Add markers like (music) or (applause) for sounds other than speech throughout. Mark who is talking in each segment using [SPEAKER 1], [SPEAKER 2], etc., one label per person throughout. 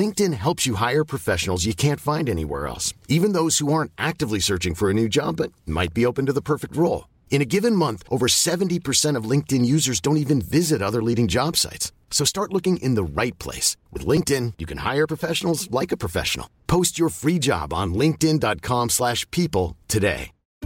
[SPEAKER 1] LinkedIn helps you hire professionals you can't find anywhere else, even those who aren't actively searching for a new job but might be open to the perfect role. In a given month, over 70% of LinkedIn users don't even visit other leading job sites. So start looking in the right place. With LinkedIn, you can hire professionals like a professional. Post your free job on linkedin.com/people slash people today.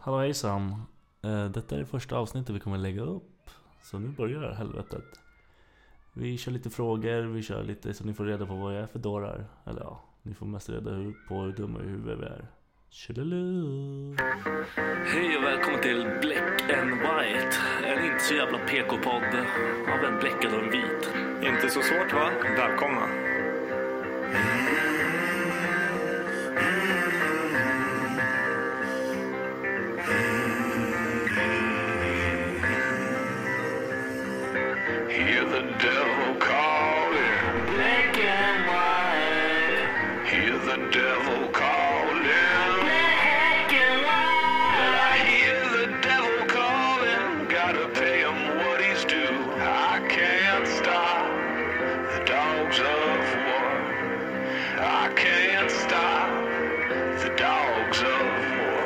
[SPEAKER 2] Hallå hejsan! Eh, Detta är det första avsnittet vi kommer lägga upp. Så nu börjar helvetet. Vi kör lite frågor, vi kör lite så ni får reda på vad jag är för dårar. Eller ja, ni får mest reda hu- på hur dumma i huvudet vi är. Tjolilu.
[SPEAKER 3] Hej och välkommen till Black and White. En inte så jävla PK-podd av en bläckad och en vit.
[SPEAKER 4] Inte så svårt va? Välkomna.
[SPEAKER 5] Hear the devil calling. Black and white. Hear the devil calling. Black and white. I hear the devil calling. Gotta pay him what he's due. I can't stop the dogs of war. I can't stop the dogs of war.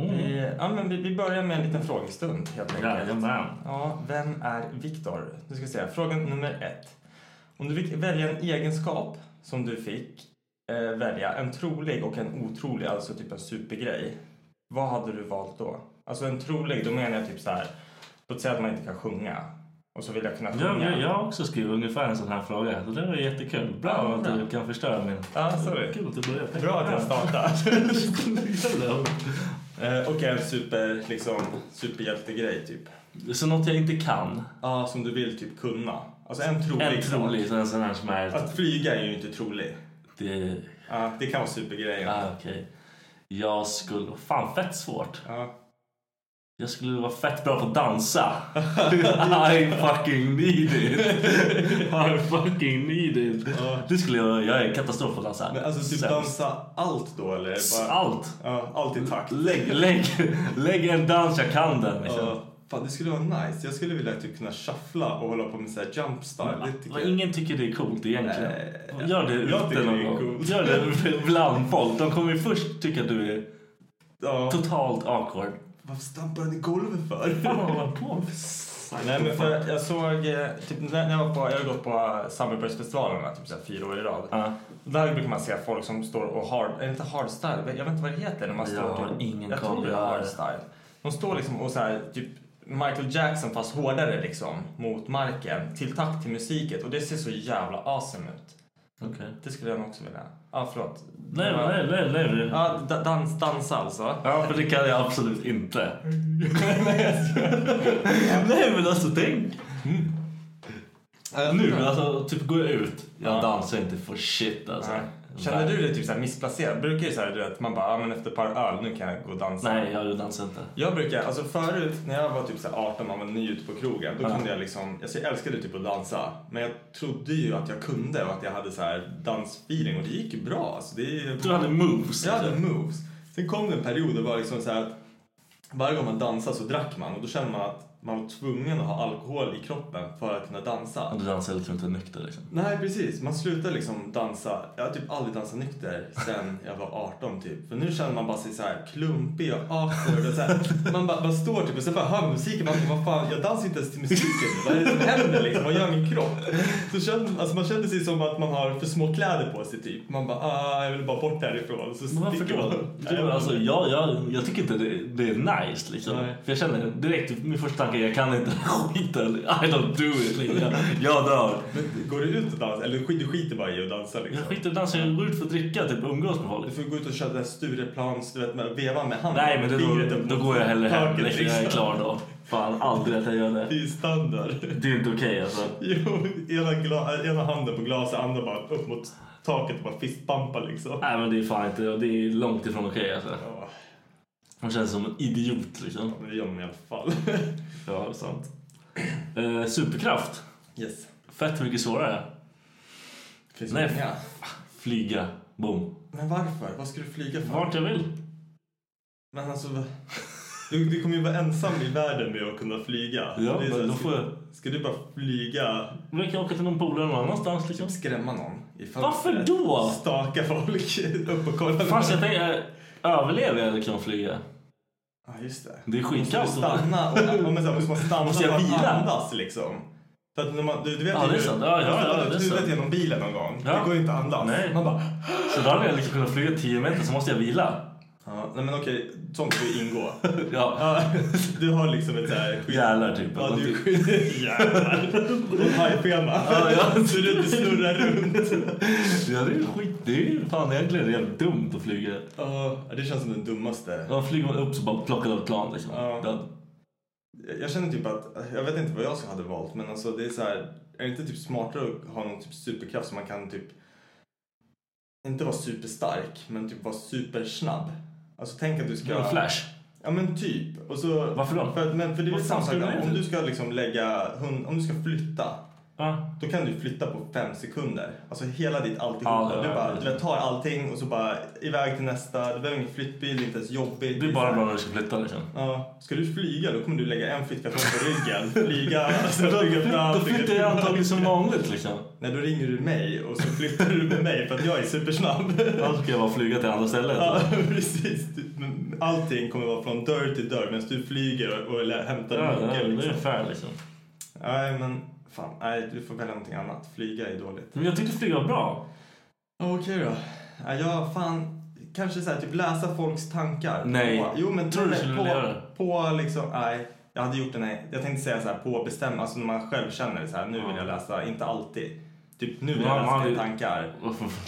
[SPEAKER 4] Vi, ja, men vi, vi börjar med en liten frågestund helt enkelt.
[SPEAKER 2] Jajamän.
[SPEAKER 4] Ja, vem är Viktor? Nu ska vi se. Fråga nummer ett. Om du fick välja en egenskap som du fick eh, välja, en trolig och en otrolig, alltså typ en supergrej. Vad hade du valt då? Alltså en trolig, då menar jag typ så här. Låt säga att man inte kan sjunga. Och så vill jag kunna
[SPEAKER 2] Ja,
[SPEAKER 4] sjunga.
[SPEAKER 2] men jag har också skrivit ungefär en sån här fråga, så det var jättekul. Bra
[SPEAKER 4] Ja,
[SPEAKER 2] att
[SPEAKER 4] bra.
[SPEAKER 2] du kan förstöra min...
[SPEAKER 4] Ja, sorry.
[SPEAKER 2] Kul att du började.
[SPEAKER 4] Bra att jag startar. Eh, och en super, liksom, superhjältegrej typ.
[SPEAKER 2] (laughs) Så något jag inte kan.
[SPEAKER 4] Ja, som du vill typ kunna. Alltså en trolig
[SPEAKER 2] En
[SPEAKER 4] sak.
[SPEAKER 2] trolig, så en sån här som är...
[SPEAKER 4] Att flyga är ju inte trolig.
[SPEAKER 2] Det...
[SPEAKER 4] Ja, det kan vara supergrejen.
[SPEAKER 2] Ah, okej. Jag skulle... Fan, fett svårt.
[SPEAKER 4] Ja.
[SPEAKER 2] Jag skulle vara fett bra på
[SPEAKER 4] (laughs)
[SPEAKER 2] att dansa. I fucking need it. I fucking need it. (laughs) Det skulle jag, jag är katastrof på att dansa.
[SPEAKER 4] Men alltså typ
[SPEAKER 2] Sämst.
[SPEAKER 4] dansa allt då eller? Bara,
[SPEAKER 2] Allt.
[SPEAKER 4] Ja, allt i takt.
[SPEAKER 2] Lägg, lägg, lägg en dans jag kan den. Liksom.
[SPEAKER 4] Ja, fan, det skulle vara nice. Jag skulle vilja typ kunna shuffla och hålla på med så här jumpstyle. Det tycker
[SPEAKER 2] Vad
[SPEAKER 4] jag.
[SPEAKER 2] Ingen tycker det är coolt egentligen.
[SPEAKER 4] Nej.
[SPEAKER 2] Gör det
[SPEAKER 4] Jag
[SPEAKER 2] ute
[SPEAKER 4] tycker
[SPEAKER 2] någon
[SPEAKER 4] det är
[SPEAKER 2] gång.
[SPEAKER 4] coolt.
[SPEAKER 2] Gör det bland folk. De kommer ju först tycka att du är
[SPEAKER 4] Ja.
[SPEAKER 2] totalt awkward.
[SPEAKER 4] Varför stampar den i golvet för?
[SPEAKER 2] Vad håller han på
[SPEAKER 4] (laughs)
[SPEAKER 2] med? Psycho
[SPEAKER 4] Nej, men för
[SPEAKER 2] fuck.
[SPEAKER 4] jag, jag såg, eh, typ, när när jag, var på, jag har gått på Summerburst-festivalerna typ så här, fyra år i rad.
[SPEAKER 2] Ja.
[SPEAKER 4] Där brukar man se folk som står och hard, eller inte hardstyle, jag vet inte vad det heter när man
[SPEAKER 2] Jag
[SPEAKER 4] står typ-
[SPEAKER 2] har ingen
[SPEAKER 4] jag
[SPEAKER 2] koll.
[SPEAKER 4] tror det är
[SPEAKER 2] Jag är-
[SPEAKER 4] hardstyle. De står liksom och så här, typ Michael Jackson fast hårdare liksom mot marken till takt till musiken och det ser så jävla awesome ut.
[SPEAKER 2] Okej.
[SPEAKER 4] Det skulle jag nog också vilja. Ja, ah, förlåt.
[SPEAKER 2] Nej,
[SPEAKER 4] Ja.
[SPEAKER 2] nej, nej, nej. nej.
[SPEAKER 4] Ja, da- dans, dansa alltså.
[SPEAKER 2] Ja, för det kan jag
[SPEAKER 4] (laughs)
[SPEAKER 2] absolut inte. Nej, men alltså tänk.
[SPEAKER 4] Mm.
[SPEAKER 2] Nu, alltså typ går jag ut. Jag dansar inte för shit alltså.
[SPEAKER 4] Nej.
[SPEAKER 5] Känner du dig typ så här missplacerad? Brukar ju så här, du vet, man bara, ah, men efter ett par öl, nu kan jag gå och dansa.
[SPEAKER 2] Nej, jag dansar inte.
[SPEAKER 5] Jag brukar, alltså förut när jag var typ så här 18 man var ny ute på krogen, då kunde jag liksom, alltså jag älskade typ att dansa. Men jag trodde ju att jag kunde och att jag hade så här dansfeeling och det gick ju bra. Alltså det är ju...
[SPEAKER 2] Du hade moves.
[SPEAKER 5] Jag hade moves. Sen kom det en period där det var liksom så här att varje gång man dansade så drack man och då kände man att man var tvungen att ha alkohol i kroppen för att kunna dansa.
[SPEAKER 2] Du dansar liksom inte nykter liksom.
[SPEAKER 5] Nej precis, man slutar liksom dansa. Jag har typ aldrig dansat nykter sen jag var 18 typ. För nu känner man bara sig så här klumpig och awkward och så här. Man bara, man står typ och sen bara hör man musiken. Man bara, vad fan, jag dansar inte ens till musiken. Vad är det som händer liksom? Vad gör min kropp? Så känner, alltså man känner sig som att man har för små kläder på sig typ. Man bara, ah, jag vill bara bort härifrån. Så
[SPEAKER 2] Men varför
[SPEAKER 5] sticker
[SPEAKER 2] då?
[SPEAKER 5] man.
[SPEAKER 2] Du,
[SPEAKER 5] Nej, jag-
[SPEAKER 2] alltså, jag, jag, jag tycker inte det, det är nice liksom.
[SPEAKER 5] Nej.
[SPEAKER 2] För jag känner direkt, min första tanke är jag kan inte (laughs) skiten. I don't do it. Liksom.
[SPEAKER 5] (laughs)
[SPEAKER 2] Jag, jag dör.
[SPEAKER 5] Men går du ut och dansar? Eller skit- du skiter bara i att dansa liksom?
[SPEAKER 2] Jag skiter i dansen, jag går ut för att dricka typ umgås med folk.
[SPEAKER 5] Du får gå ut och köra det här Stureplans, du vet, med, veva med handen.
[SPEAKER 2] Nej men det,
[SPEAKER 5] Fingret upp
[SPEAKER 2] då, då
[SPEAKER 5] mot
[SPEAKER 2] går jag hellre hem.
[SPEAKER 5] taket,
[SPEAKER 2] Liksom. Jag är klar då. Fan aldrig att jag gör
[SPEAKER 5] Det är
[SPEAKER 2] det.
[SPEAKER 5] ju standard. (laughs)
[SPEAKER 2] Det är inte okej alltså.
[SPEAKER 5] Jo, ena, gla- eh, ena handen på glaset, andra bara upp mot taket och bara fistbampa liksom.
[SPEAKER 2] Nej men det är fan inte, det är långt ifrån okej alltså.
[SPEAKER 5] Ja,
[SPEAKER 2] Man känns som en idiot liksom.
[SPEAKER 5] men det gör man i alla fall. (laughs)
[SPEAKER 2] Ja, det är sant. Eh, superkraft.
[SPEAKER 5] Yes.
[SPEAKER 2] Fett mycket svårare.
[SPEAKER 5] Finns
[SPEAKER 2] Nej.
[SPEAKER 5] många.
[SPEAKER 2] Flyga. Boom.
[SPEAKER 5] Men varför? Vad ska du flyga för?
[SPEAKER 2] Vart jag vill.
[SPEAKER 5] Men alltså, va- du, du kommer ju vara ensam i världen med att kunna flyga.
[SPEAKER 2] Ja,
[SPEAKER 5] Det är så här,
[SPEAKER 2] men då
[SPEAKER 5] ska-
[SPEAKER 2] får jag...
[SPEAKER 5] Ska du bara flyga,
[SPEAKER 2] Men jag kan åka till någon polare någon annanstans
[SPEAKER 5] (laughs)
[SPEAKER 2] liksom.
[SPEAKER 5] skrämma någon i fönstret?
[SPEAKER 2] Varför då?
[SPEAKER 5] Staka folk (laughs) upp och kolla.
[SPEAKER 2] Fan, så jag tänker, eh, överlever jag liksom flyga?
[SPEAKER 5] Ja, just det.
[SPEAKER 2] Det är
[SPEAKER 5] Måste du
[SPEAKER 2] skitkallt.
[SPEAKER 5] stanna och, ja, men så här, måste man stanna
[SPEAKER 2] Måste jag
[SPEAKER 5] för att
[SPEAKER 2] vila?
[SPEAKER 5] andas liksom? För att när man, du, du vet
[SPEAKER 2] Ja,
[SPEAKER 5] ju
[SPEAKER 2] det är
[SPEAKER 5] hur-
[SPEAKER 2] sant. Ja, ja,
[SPEAKER 5] man ställer
[SPEAKER 2] ja,
[SPEAKER 5] upp
[SPEAKER 2] det är
[SPEAKER 5] huvudet
[SPEAKER 2] sant.
[SPEAKER 5] genom bilen någon gång.
[SPEAKER 2] Ja.
[SPEAKER 5] Det går ju inte att andas.
[SPEAKER 2] Nej.
[SPEAKER 5] Man bara...
[SPEAKER 2] Så då hade jag liksom kunnat flyga 10 meter så måste jag vila.
[SPEAKER 5] Ja, nej men okej, sånt får ju ingå.
[SPEAKER 2] (laughs) Ja.
[SPEAKER 5] Ja, du har liksom ett så här skydd.
[SPEAKER 2] Jävlar typ.
[SPEAKER 5] Ja, du (laughs) är
[SPEAKER 2] Någonting.
[SPEAKER 5] skydd.
[SPEAKER 2] (laughs)
[SPEAKER 5] Jävlar. Och hajfena.
[SPEAKER 2] Ja, ja.
[SPEAKER 5] Så du inte snurrar runt.
[SPEAKER 2] Ja, det är ju skit. Det är ju fan egentligen jävligt dumt att flyga.
[SPEAKER 5] Ja, det känns som den dummaste.
[SPEAKER 2] Då flyger man upp så bara plockar av ett plan liksom.
[SPEAKER 5] Ja.
[SPEAKER 2] Ja.
[SPEAKER 5] Jag- Jag känner typ att, jag vet inte vad jag hade valt men alltså det är så här, är det inte typ smartare att ha någon typ superkraft som man kan typ, inte vara superstark men typ vara supersnabb? Alltså tänk att du ska...
[SPEAKER 2] Ja. Flash.
[SPEAKER 5] Ja men typ. Och så,
[SPEAKER 2] Varför då?
[SPEAKER 5] För, att- men, för det är
[SPEAKER 2] Vad
[SPEAKER 5] väl
[SPEAKER 2] fan ska
[SPEAKER 5] samma sak
[SPEAKER 2] du med
[SPEAKER 5] där. om
[SPEAKER 2] det?
[SPEAKER 5] du ska liksom lägga, hund- om du ska flytta
[SPEAKER 2] Ja.
[SPEAKER 5] då kan du flytta på fem sekunder. Alltså hela ditt
[SPEAKER 2] Ja,
[SPEAKER 5] alltihopa.
[SPEAKER 2] ja,
[SPEAKER 5] du
[SPEAKER 2] ja,
[SPEAKER 5] bara
[SPEAKER 2] ja.
[SPEAKER 5] du vet, tar allting och så bara iväg till nästa. Du behöver ingen flyttbil, det är inte ens jobbigt.
[SPEAKER 2] Det är bara bra när du ska flytta liksom.
[SPEAKER 5] Ja, ska du flyga då kommer du lägga en flyttkartong på ryggen.
[SPEAKER 2] (laughs)
[SPEAKER 5] Flyga, alltså,
[SPEAKER 2] Då
[SPEAKER 5] flyga fram.
[SPEAKER 2] flyttar jag antagligen som vanligt liksom.
[SPEAKER 5] Nej, då ringer du mig och så flyttar du med mig för att jag är supersnabb.
[SPEAKER 2] Då ska jag bara flyga till andra liksom. stället.
[SPEAKER 5] Ja, (laughs) precis. Du- men Allting kommer vara från dörr till dörr medan du flyger och lä- hämtar
[SPEAKER 2] Ja, det
[SPEAKER 5] nyckeln.
[SPEAKER 2] är
[SPEAKER 5] liksom.
[SPEAKER 2] ungefär liksom.
[SPEAKER 5] Nej, men fan. Nej, du får välja någonting annat. Flyga är dåligt.
[SPEAKER 2] Men jag tyckte flyga var bra.
[SPEAKER 5] Okej då. Ja, jag fan... Kanske så här, typ läsa folks tankar.
[SPEAKER 2] Nej.
[SPEAKER 5] På, jo, men
[SPEAKER 2] Tror du
[SPEAKER 5] nej,
[SPEAKER 2] skulle
[SPEAKER 5] på,
[SPEAKER 2] vilja göra det?
[SPEAKER 5] på liksom... Nej. Jag hade gjort det nej. Jag tänkte säga så här på bestämma. Alltså när man själv känner så här. Nu vill jag läsa. Inte alltid. Typ nu vill
[SPEAKER 2] Ja,
[SPEAKER 5] jag läsa
[SPEAKER 2] man
[SPEAKER 5] dina
[SPEAKER 2] hade ju-
[SPEAKER 5] tankar.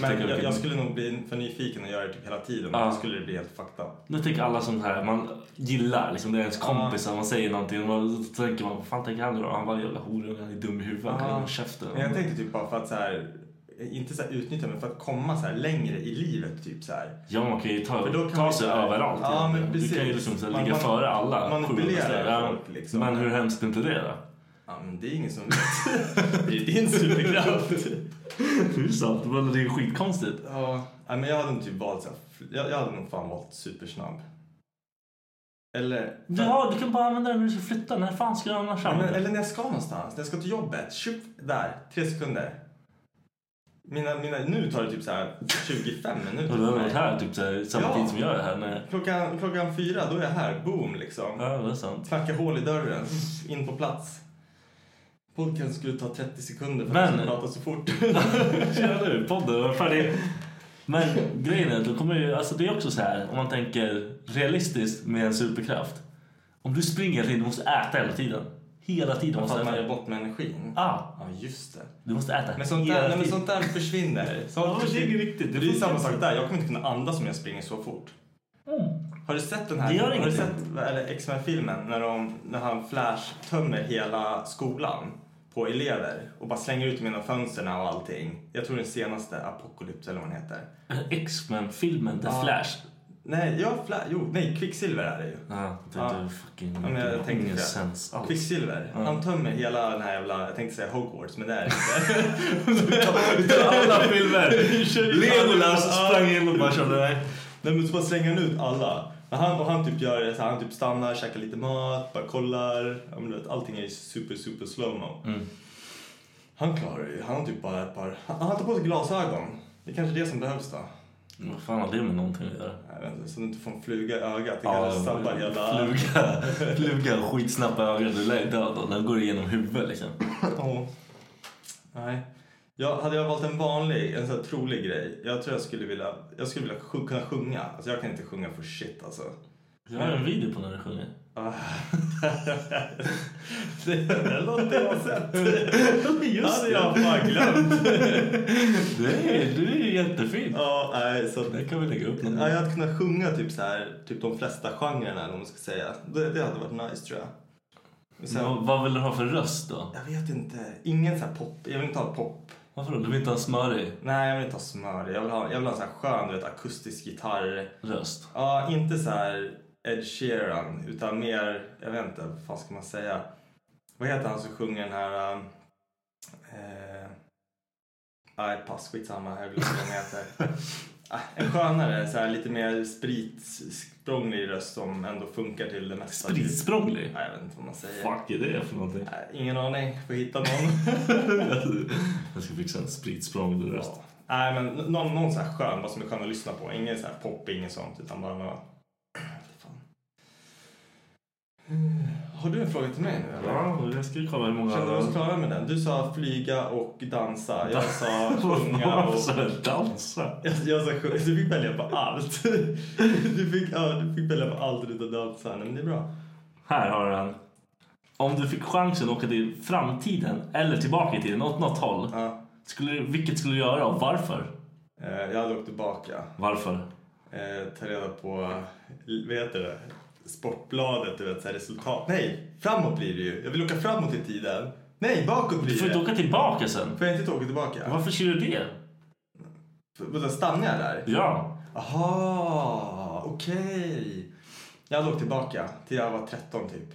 [SPEAKER 5] Men jag, jag skulle nog bli för nyfiken och göra det typ hela tiden.
[SPEAKER 2] Ja.
[SPEAKER 5] Då skulle det bli helt fucked up.
[SPEAKER 2] Nu tänker alla sånt här, man gillar liksom, det är ens kompisar, man säger någonting och man, så tänker man, vad fan tänker han nu då? Han var en jävla horunge, han är dum i huvudet, han kan
[SPEAKER 5] Ja.
[SPEAKER 2] ju hålla käften.
[SPEAKER 5] Men jag tänkte typ bara för att så här. Inte så här utnyttja men för att komma så här längre i livet typ så här.
[SPEAKER 2] Ja, man kan ju ta,
[SPEAKER 5] För då kan
[SPEAKER 2] ta
[SPEAKER 5] man-
[SPEAKER 2] sig överallt.
[SPEAKER 5] Ja, men
[SPEAKER 2] egentligen. du kan ju
[SPEAKER 5] precis.
[SPEAKER 2] liksom så här,
[SPEAKER 5] Man-
[SPEAKER 2] ligga
[SPEAKER 5] man-
[SPEAKER 2] före alla.
[SPEAKER 5] manipulerar
[SPEAKER 2] sjuhundra ställen. Ja,
[SPEAKER 5] folk, liksom.
[SPEAKER 2] Men hur hemskt är inte det då? (laughs)
[SPEAKER 5] Ja men det är ingen som vet. det är din superkraft.
[SPEAKER 2] Det är ju sant, men det är ju skitkonstigt.
[SPEAKER 5] Ja, nej, men jag hade nog typ valt så här, jag, jag hade nog fan valt supersnabb. Eller...
[SPEAKER 2] Ja, du kan bara använda den när du ska flytta, när fan ska du annars
[SPEAKER 5] Ja,
[SPEAKER 2] använda
[SPEAKER 5] men,
[SPEAKER 2] den?
[SPEAKER 5] eller när jag ska någonstans, när jag ska till jobbet. Tjup, där, tre sekunder. Mina, mina, nu tar det typ så här 25 minuter.
[SPEAKER 2] Och du har
[SPEAKER 5] för
[SPEAKER 2] varit
[SPEAKER 5] mig.
[SPEAKER 2] här typ så här, samtidigt
[SPEAKER 5] Ja.
[SPEAKER 2] som jag är här. När...
[SPEAKER 5] Klockan, klockan fyra, då är jag här. Boom, liksom.
[SPEAKER 2] Ja, det är sant.
[SPEAKER 5] Knacka hål i dörren, in på plats. Podcasten skulle ta 30 sekunder för
[SPEAKER 2] Men-
[SPEAKER 5] att jag ska prata så fort.
[SPEAKER 2] Tjena du, podden var färdig. Men grejen är att då kommer ju, alltså det är också så här om man tänker realistiskt med en superkraft. Om du springer hela tiden, du måste äta hela tiden. Hela tiden
[SPEAKER 5] För
[SPEAKER 2] måste
[SPEAKER 5] att man
[SPEAKER 2] du
[SPEAKER 5] gör
[SPEAKER 2] äta.
[SPEAKER 5] bort med energin.
[SPEAKER 2] Ah,
[SPEAKER 5] Ja, just det.
[SPEAKER 2] du måste äta
[SPEAKER 5] Men sånt
[SPEAKER 2] hela
[SPEAKER 5] där, nej, men
[SPEAKER 2] tiden.
[SPEAKER 5] sånt där försvinner.
[SPEAKER 2] (laughs)
[SPEAKER 5] Sånt
[SPEAKER 2] Ja, men det är
[SPEAKER 5] försvinner.
[SPEAKER 2] ju riktigt. Det
[SPEAKER 5] Det, är
[SPEAKER 2] funkar
[SPEAKER 5] samma
[SPEAKER 2] inte. Mm.
[SPEAKER 5] sak där. Jag kommer inte kunna andas om jag springer så fort. Har du sett den här
[SPEAKER 2] Det gör
[SPEAKER 5] har du
[SPEAKER 2] ingenting.
[SPEAKER 5] sett eller, X-Men-filmen när, de, när han Flash tömmer hela skolan på elever och bara slänger ut dem genom fönstren och allting. Jag tror den senaste, Apocalypse eller vad den heter.
[SPEAKER 2] X-Men-filmen, The Flash.
[SPEAKER 5] Nej, ja, fla- jo, nej, Quicksilver är det ju.
[SPEAKER 2] Ja, det
[SPEAKER 5] Ja.
[SPEAKER 2] är fucking...
[SPEAKER 5] Ja, men jag tänkte
[SPEAKER 2] ingen
[SPEAKER 5] det.
[SPEAKER 2] sens alls.
[SPEAKER 5] Quicksilver, han tömmer hela den här jävla, jag tänkte säga Hogwarts, men det är det
[SPEAKER 2] (laughs)
[SPEAKER 5] inte. (laughs)
[SPEAKER 2] Alla filmer! (laughs)
[SPEAKER 5] Kör ut alla.
[SPEAKER 2] Legolas sprang in och bara körde.
[SPEAKER 5] nej. Nej men så bara slänger han ut alla. Men han, och han typ gör det så här, han typ stannar, käkar lite mat, bara kollar. Ja, men du vet, allting är ju super, super slowmo. Han klarar ju, han har typ bara ett par, han, han tar på sig glasögon. Det är kanske det som behövs då.
[SPEAKER 2] Vad fan har det med någonting att göra?
[SPEAKER 5] Jag vet inte, så du inte får en fluga i ögat. Det kanske sabbar hela...
[SPEAKER 2] fluga, fluga skitsnabba ögon. Du lär ju dö då. Den går igenom huvudet liksom.
[SPEAKER 5] Ja. Nej. Jag, hade jag valt en vanlig, en sån här trolig grej. Jag tror jag skulle vilja, jag skulle vilja sj- kunna sjunga. Alltså jag kan inte sjunga för shit alltså.
[SPEAKER 2] Jag har en video på när du sjunger. (laughs)
[SPEAKER 5] Det låter jag sett. (laughs) Just hade jag fan glömt.
[SPEAKER 2] Du är, du är jättefin.
[SPEAKER 5] ja, nej, så
[SPEAKER 2] Det kan vi lägga upp någon
[SPEAKER 5] ja, jag
[SPEAKER 2] gång.
[SPEAKER 5] hade kunnat sjunga typ så här, typ de flesta genrerna eller vad man ska säga. Det, det hade varit nice tror jag. Men Sen,
[SPEAKER 2] Vad- Vad vill du ha för röst då?
[SPEAKER 5] Jag vet inte, ingen så här pop. Jag vill inte ha pop.
[SPEAKER 2] Varför då? Du vill inte ha en smörig
[SPEAKER 5] Nej, jag vill inte ha smör. Jag vill ha, jag vill ha en så här skön, du vet, akustisk gitarr.
[SPEAKER 2] röst?
[SPEAKER 5] Ja, inte så här Ed Sheeran, utan mer, jag vet inte, vad fan ska man säga? Vad heter han som sjunger den här... um, Eh, nej, pass, skitsamma, jag glömde vad han heter. Ah, En skönare, så här, lite mer spritsprånglig röst som ändå funkar till det mesta.
[SPEAKER 2] Spritsprånglig?
[SPEAKER 5] Nej, jag vet inte vad man säger.
[SPEAKER 2] Fuck är det för någonting?
[SPEAKER 5] Nej, Ingen aning, får hitta någon.
[SPEAKER 2] (laughs) Jag ska fixa en spritsprånglig röst.
[SPEAKER 5] Ja. Nej, men n- någon, någon så här skön, vad som är skön att lyssna på. Ingen så här pop, ingen sånt, utan bara några... Fan. Har du en fråga till mig nu eller?
[SPEAKER 2] Ja, och jag ska ju kolla hur många...
[SPEAKER 5] Känner du oss klara med den? Du sa flyga och dansa.
[SPEAKER 2] (laughs)
[SPEAKER 5] Jag sa sjunga och...
[SPEAKER 2] Varför sa jag dansa?
[SPEAKER 5] Jag, jag sa sjunga. Du fick välja på allt. (laughs) Du fick, ja, du fick välja på allt utan dansa. Nej, men det är bra.
[SPEAKER 2] Här har du den. Om du fick chansen att åka till framtiden eller tillbaka i tiden, åt något håll.
[SPEAKER 5] Ja.
[SPEAKER 2] Skulle, du- vilket skulle du göra och varför?
[SPEAKER 5] Eh, Jag hade åkt tillbaka.
[SPEAKER 2] Varför?
[SPEAKER 5] Eh, Ta reda på, vad heter det? Sportbladet, du vet, så här resultat. Nej, framåt blir det ju. Jag vill åka framåt i tiden. Nej, bakåt
[SPEAKER 2] Du
[SPEAKER 5] blir det.
[SPEAKER 2] får inte åka tillbaka sen.
[SPEAKER 5] Får jag inte åka tillbaka?
[SPEAKER 2] Varför skulle du det?
[SPEAKER 5] Vadå, stannar jag där?
[SPEAKER 2] Ja.
[SPEAKER 5] Aha, okej. Jag låg tillbaka till jag var 13 typ.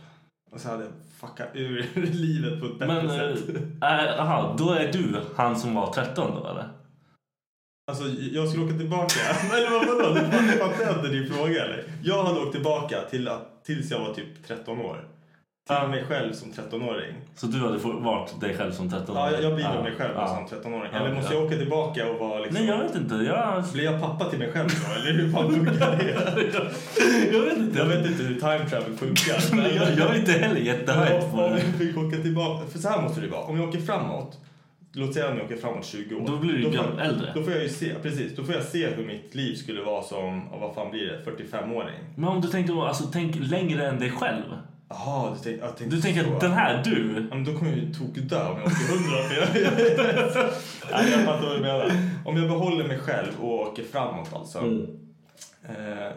[SPEAKER 5] Och så hade jag fuckat ur (laughs) livet på ett bättre (laughs)
[SPEAKER 2] Men, eh,
[SPEAKER 5] sätt.
[SPEAKER 2] äh, aha, då är du han som var 13 då eller?
[SPEAKER 5] Alltså jag skulle åka tillbaka. (laughs) eller vad vadå? Du fatt- fattar jag inte din fråga eller? Jag hade åkt tillbaka till att, tills jag var typ 13 år. Till mig själv som 13-åring.
[SPEAKER 2] Så du hade få- varit dig själv som 13
[SPEAKER 5] Ja, jag, jag blir
[SPEAKER 2] Ja,
[SPEAKER 5] mig själv liksom.
[SPEAKER 2] ja.
[SPEAKER 5] som 13-åring.
[SPEAKER 2] Ja,
[SPEAKER 5] Eller måste
[SPEAKER 2] ja.
[SPEAKER 5] jag åka tillbaka och vara liksom...
[SPEAKER 2] Nej, jag vet inte. Jag, (laughs)
[SPEAKER 5] Blir jag pappa till mig själv då? Eller hur fan funkar det?
[SPEAKER 2] jag vet inte.
[SPEAKER 5] Jag vet inte hur time travel funkar.
[SPEAKER 2] Men (laughs) jag, jag är inte heller jättehöjd
[SPEAKER 5] Om
[SPEAKER 2] på
[SPEAKER 5] om
[SPEAKER 2] det.
[SPEAKER 5] (laughs) jag fick åka tillbaka. För så här måste det vara. Om jag åker framåt. Låt säga om jag åker framåt 20 år.
[SPEAKER 2] Då blir du ju
[SPEAKER 5] får-
[SPEAKER 2] gam- äldre.
[SPEAKER 5] Då får jag ju se, precis. Då får jag se hur mitt liv skulle vara som, ja, vad fan blir det, 45-åring.
[SPEAKER 2] Men om du tänker, alltså, tänk längre än dig själv.
[SPEAKER 5] Jaha, du, tänk, jag tänkte
[SPEAKER 2] Du tänker
[SPEAKER 5] så.
[SPEAKER 2] att den här du,
[SPEAKER 5] Ja, men då kommer jag ju tokdö om jag åker 100. För jag, (laughs) jag, Nej, jag fattar vad du menar. Om jag behåller mig själv och åker framåt alltså. Eh,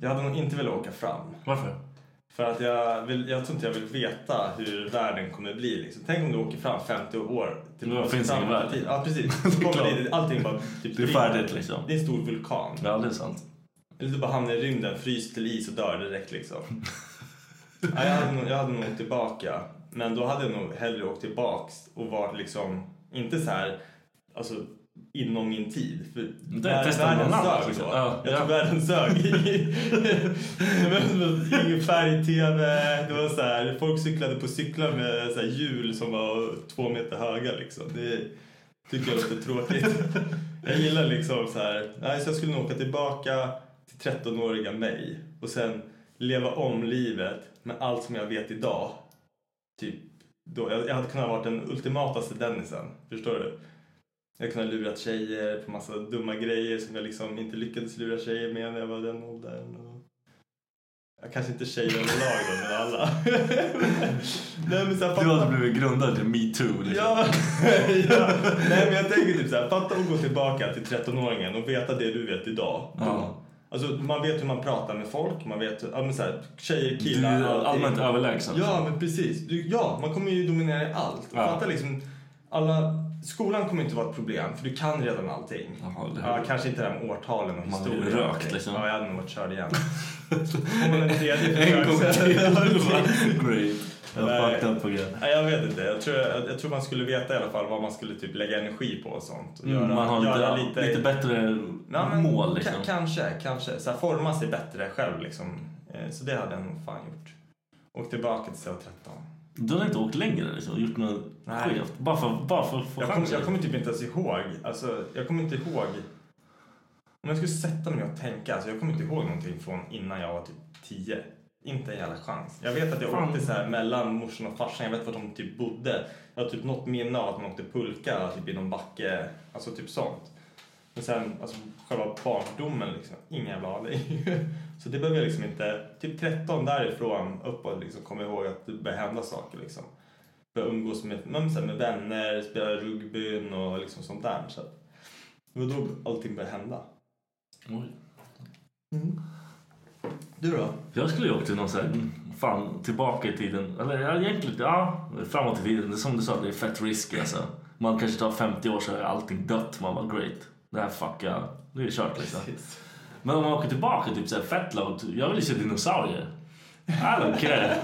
[SPEAKER 5] jag hade nog inte velat åka fram.
[SPEAKER 2] varför?
[SPEAKER 5] För att jag, vill, jag tror inte jag vill veta hur världen kommer bli. Liksom. Tänk om du åker fram 50 år.
[SPEAKER 2] Då finns ingen värld.
[SPEAKER 5] tid. Ja,
[SPEAKER 2] (laughs)
[SPEAKER 5] precis. Då
[SPEAKER 2] klart.
[SPEAKER 5] kommer det, allting bara... Typ,
[SPEAKER 2] Det är färdigt liksom.
[SPEAKER 5] Det är en stor vulkan.
[SPEAKER 2] Ja, det är sant.
[SPEAKER 5] Eller du bara hamnar i rymden, fryser till is och dör
[SPEAKER 2] (laughs)
[SPEAKER 5] direkt liksom. ja, jag, hade nog, jag hade nog åkt tillbaka. Men då hade jag nog hellre åkt tillbaks och varit liksom, inte så här, alltså inom min tid. För
[SPEAKER 2] Det är testar man
[SPEAKER 5] världen
[SPEAKER 2] annat,
[SPEAKER 5] sög
[SPEAKER 2] liksom.
[SPEAKER 5] då.
[SPEAKER 2] Ja,
[SPEAKER 5] jag
[SPEAKER 2] ja.
[SPEAKER 5] tror världen sög.
[SPEAKER 2] (laughs)
[SPEAKER 5] Det var Ingen färg-tv, det var så här, folk cyklade på cyklar med så här hjul som var två meter höga liksom. Det tycker jag låter
[SPEAKER 2] (laughs)
[SPEAKER 5] tråkigt. Jag gillar liksom så här, nej så jag skulle nog åka tillbaka till 13-åriga mig och sen leva om livet med allt som jag vet idag. Typ, då, jag, jag hade kunnat vara den ultimataste Dennisen, förstår du? Jag hade kunnat lura tjejer på massa dumma grejer som jag liksom inte lyckades lura tjejer med när jag var i den åldern. Och... Jag kanske inte tjejer överlag då, men alla. (laughs) nej, men så här,
[SPEAKER 2] Du
[SPEAKER 5] fatta-
[SPEAKER 2] hade blivit liksom- grundad i metoo. Liksom.
[SPEAKER 5] Ja, (laughs) ja. Nej, men jag tänker typ så här, fatta att gå tillbaka till 13-åringen och veta det du vet idag.
[SPEAKER 2] Ja.
[SPEAKER 5] Alltså, man vet hur man pratar med folk, man vet hur, ja, men så här, tjejer,
[SPEAKER 2] Du
[SPEAKER 5] killar.
[SPEAKER 2] är
[SPEAKER 5] allting.
[SPEAKER 2] allmänt överlägsen.
[SPEAKER 5] Ja, men precis. Du, ja, man kommer ju dominera i allt.
[SPEAKER 2] Ja.
[SPEAKER 5] Fatta liksom, alla, skolan kommer inte vara ett problem för du kan redan allting.
[SPEAKER 2] Jaha, det-
[SPEAKER 5] ja, kanske inte det här med årtalen och
[SPEAKER 2] hade ju
[SPEAKER 5] historien.
[SPEAKER 2] rökt,
[SPEAKER 5] och allting.
[SPEAKER 2] liksom.
[SPEAKER 5] Ja, jag hade nog varit
[SPEAKER 2] (laughs)
[SPEAKER 5] körd igen. Får man en tredje
[SPEAKER 2] (laughs) En gång
[SPEAKER 5] försök. (laughs)
[SPEAKER 2] till. Great.
[SPEAKER 5] Nej.
[SPEAKER 2] Fucked up program.
[SPEAKER 5] Nej, jag vet inte. Jag tror, jag, jag tror man skulle veta i alla fall vad man skulle typ lägga energi på och sånt. Och göra,
[SPEAKER 2] Mm, Man har
[SPEAKER 5] göra
[SPEAKER 2] lite, lite, bättre
[SPEAKER 5] Ja, men
[SPEAKER 2] mål
[SPEAKER 5] ka-
[SPEAKER 2] liksom.
[SPEAKER 5] Kanske, kanske. Så här, forma sig bättre själv liksom. Eh, Så det hade jag nog fan gjort. Och tillbaka till jag 13.
[SPEAKER 2] Du har inte åkt längre liksom, och gjort något
[SPEAKER 5] Nej.
[SPEAKER 2] skevt? Bara för, bara för att få
[SPEAKER 5] Jag kommer
[SPEAKER 2] chansen?
[SPEAKER 5] jag kommer typ inte ens ihåg. Alltså, jag kommer inte ihåg. Om jag skulle sätta mig och tänka. Alltså, jag kommer inte ihåg någonting från innan jag var typ 10. Inte en jävla chans. Jag vet att jag
[SPEAKER 2] Fan.
[SPEAKER 5] åkte så här mellan morsan och farsan. Jag vet var de typ bodde. Jag har typ något minne av att man åkte pulka typ i någon backe. Alltså typ sånt. Men sen alltså, själva barndomen liksom. Ingen jävla aning. (laughs) Så det behöver jag liksom inte. Typ 13 därifrån uppåt liksom kommer jag ihåg att det började hända saker liksom börja umgås med, men, så här, med vänner, spela rugbyn och liksom sånt där. Så att, det var då allting började hända.
[SPEAKER 2] Oj.
[SPEAKER 5] Du då?
[SPEAKER 2] Jag skulle ju åkt till någon så här, mm, fan tillbaka i tiden. Eller ja, egentligen, ja, framåt i tiden. Det är som du sa, det är fett risky alltså. Man kanske tar 50 år så är allting dött. Man bara great. Det här fuckar, nu är det kört liksom. Men om man åker tillbaka typ så här fett långt. Jag vill ju se dinosaurier. I don't care.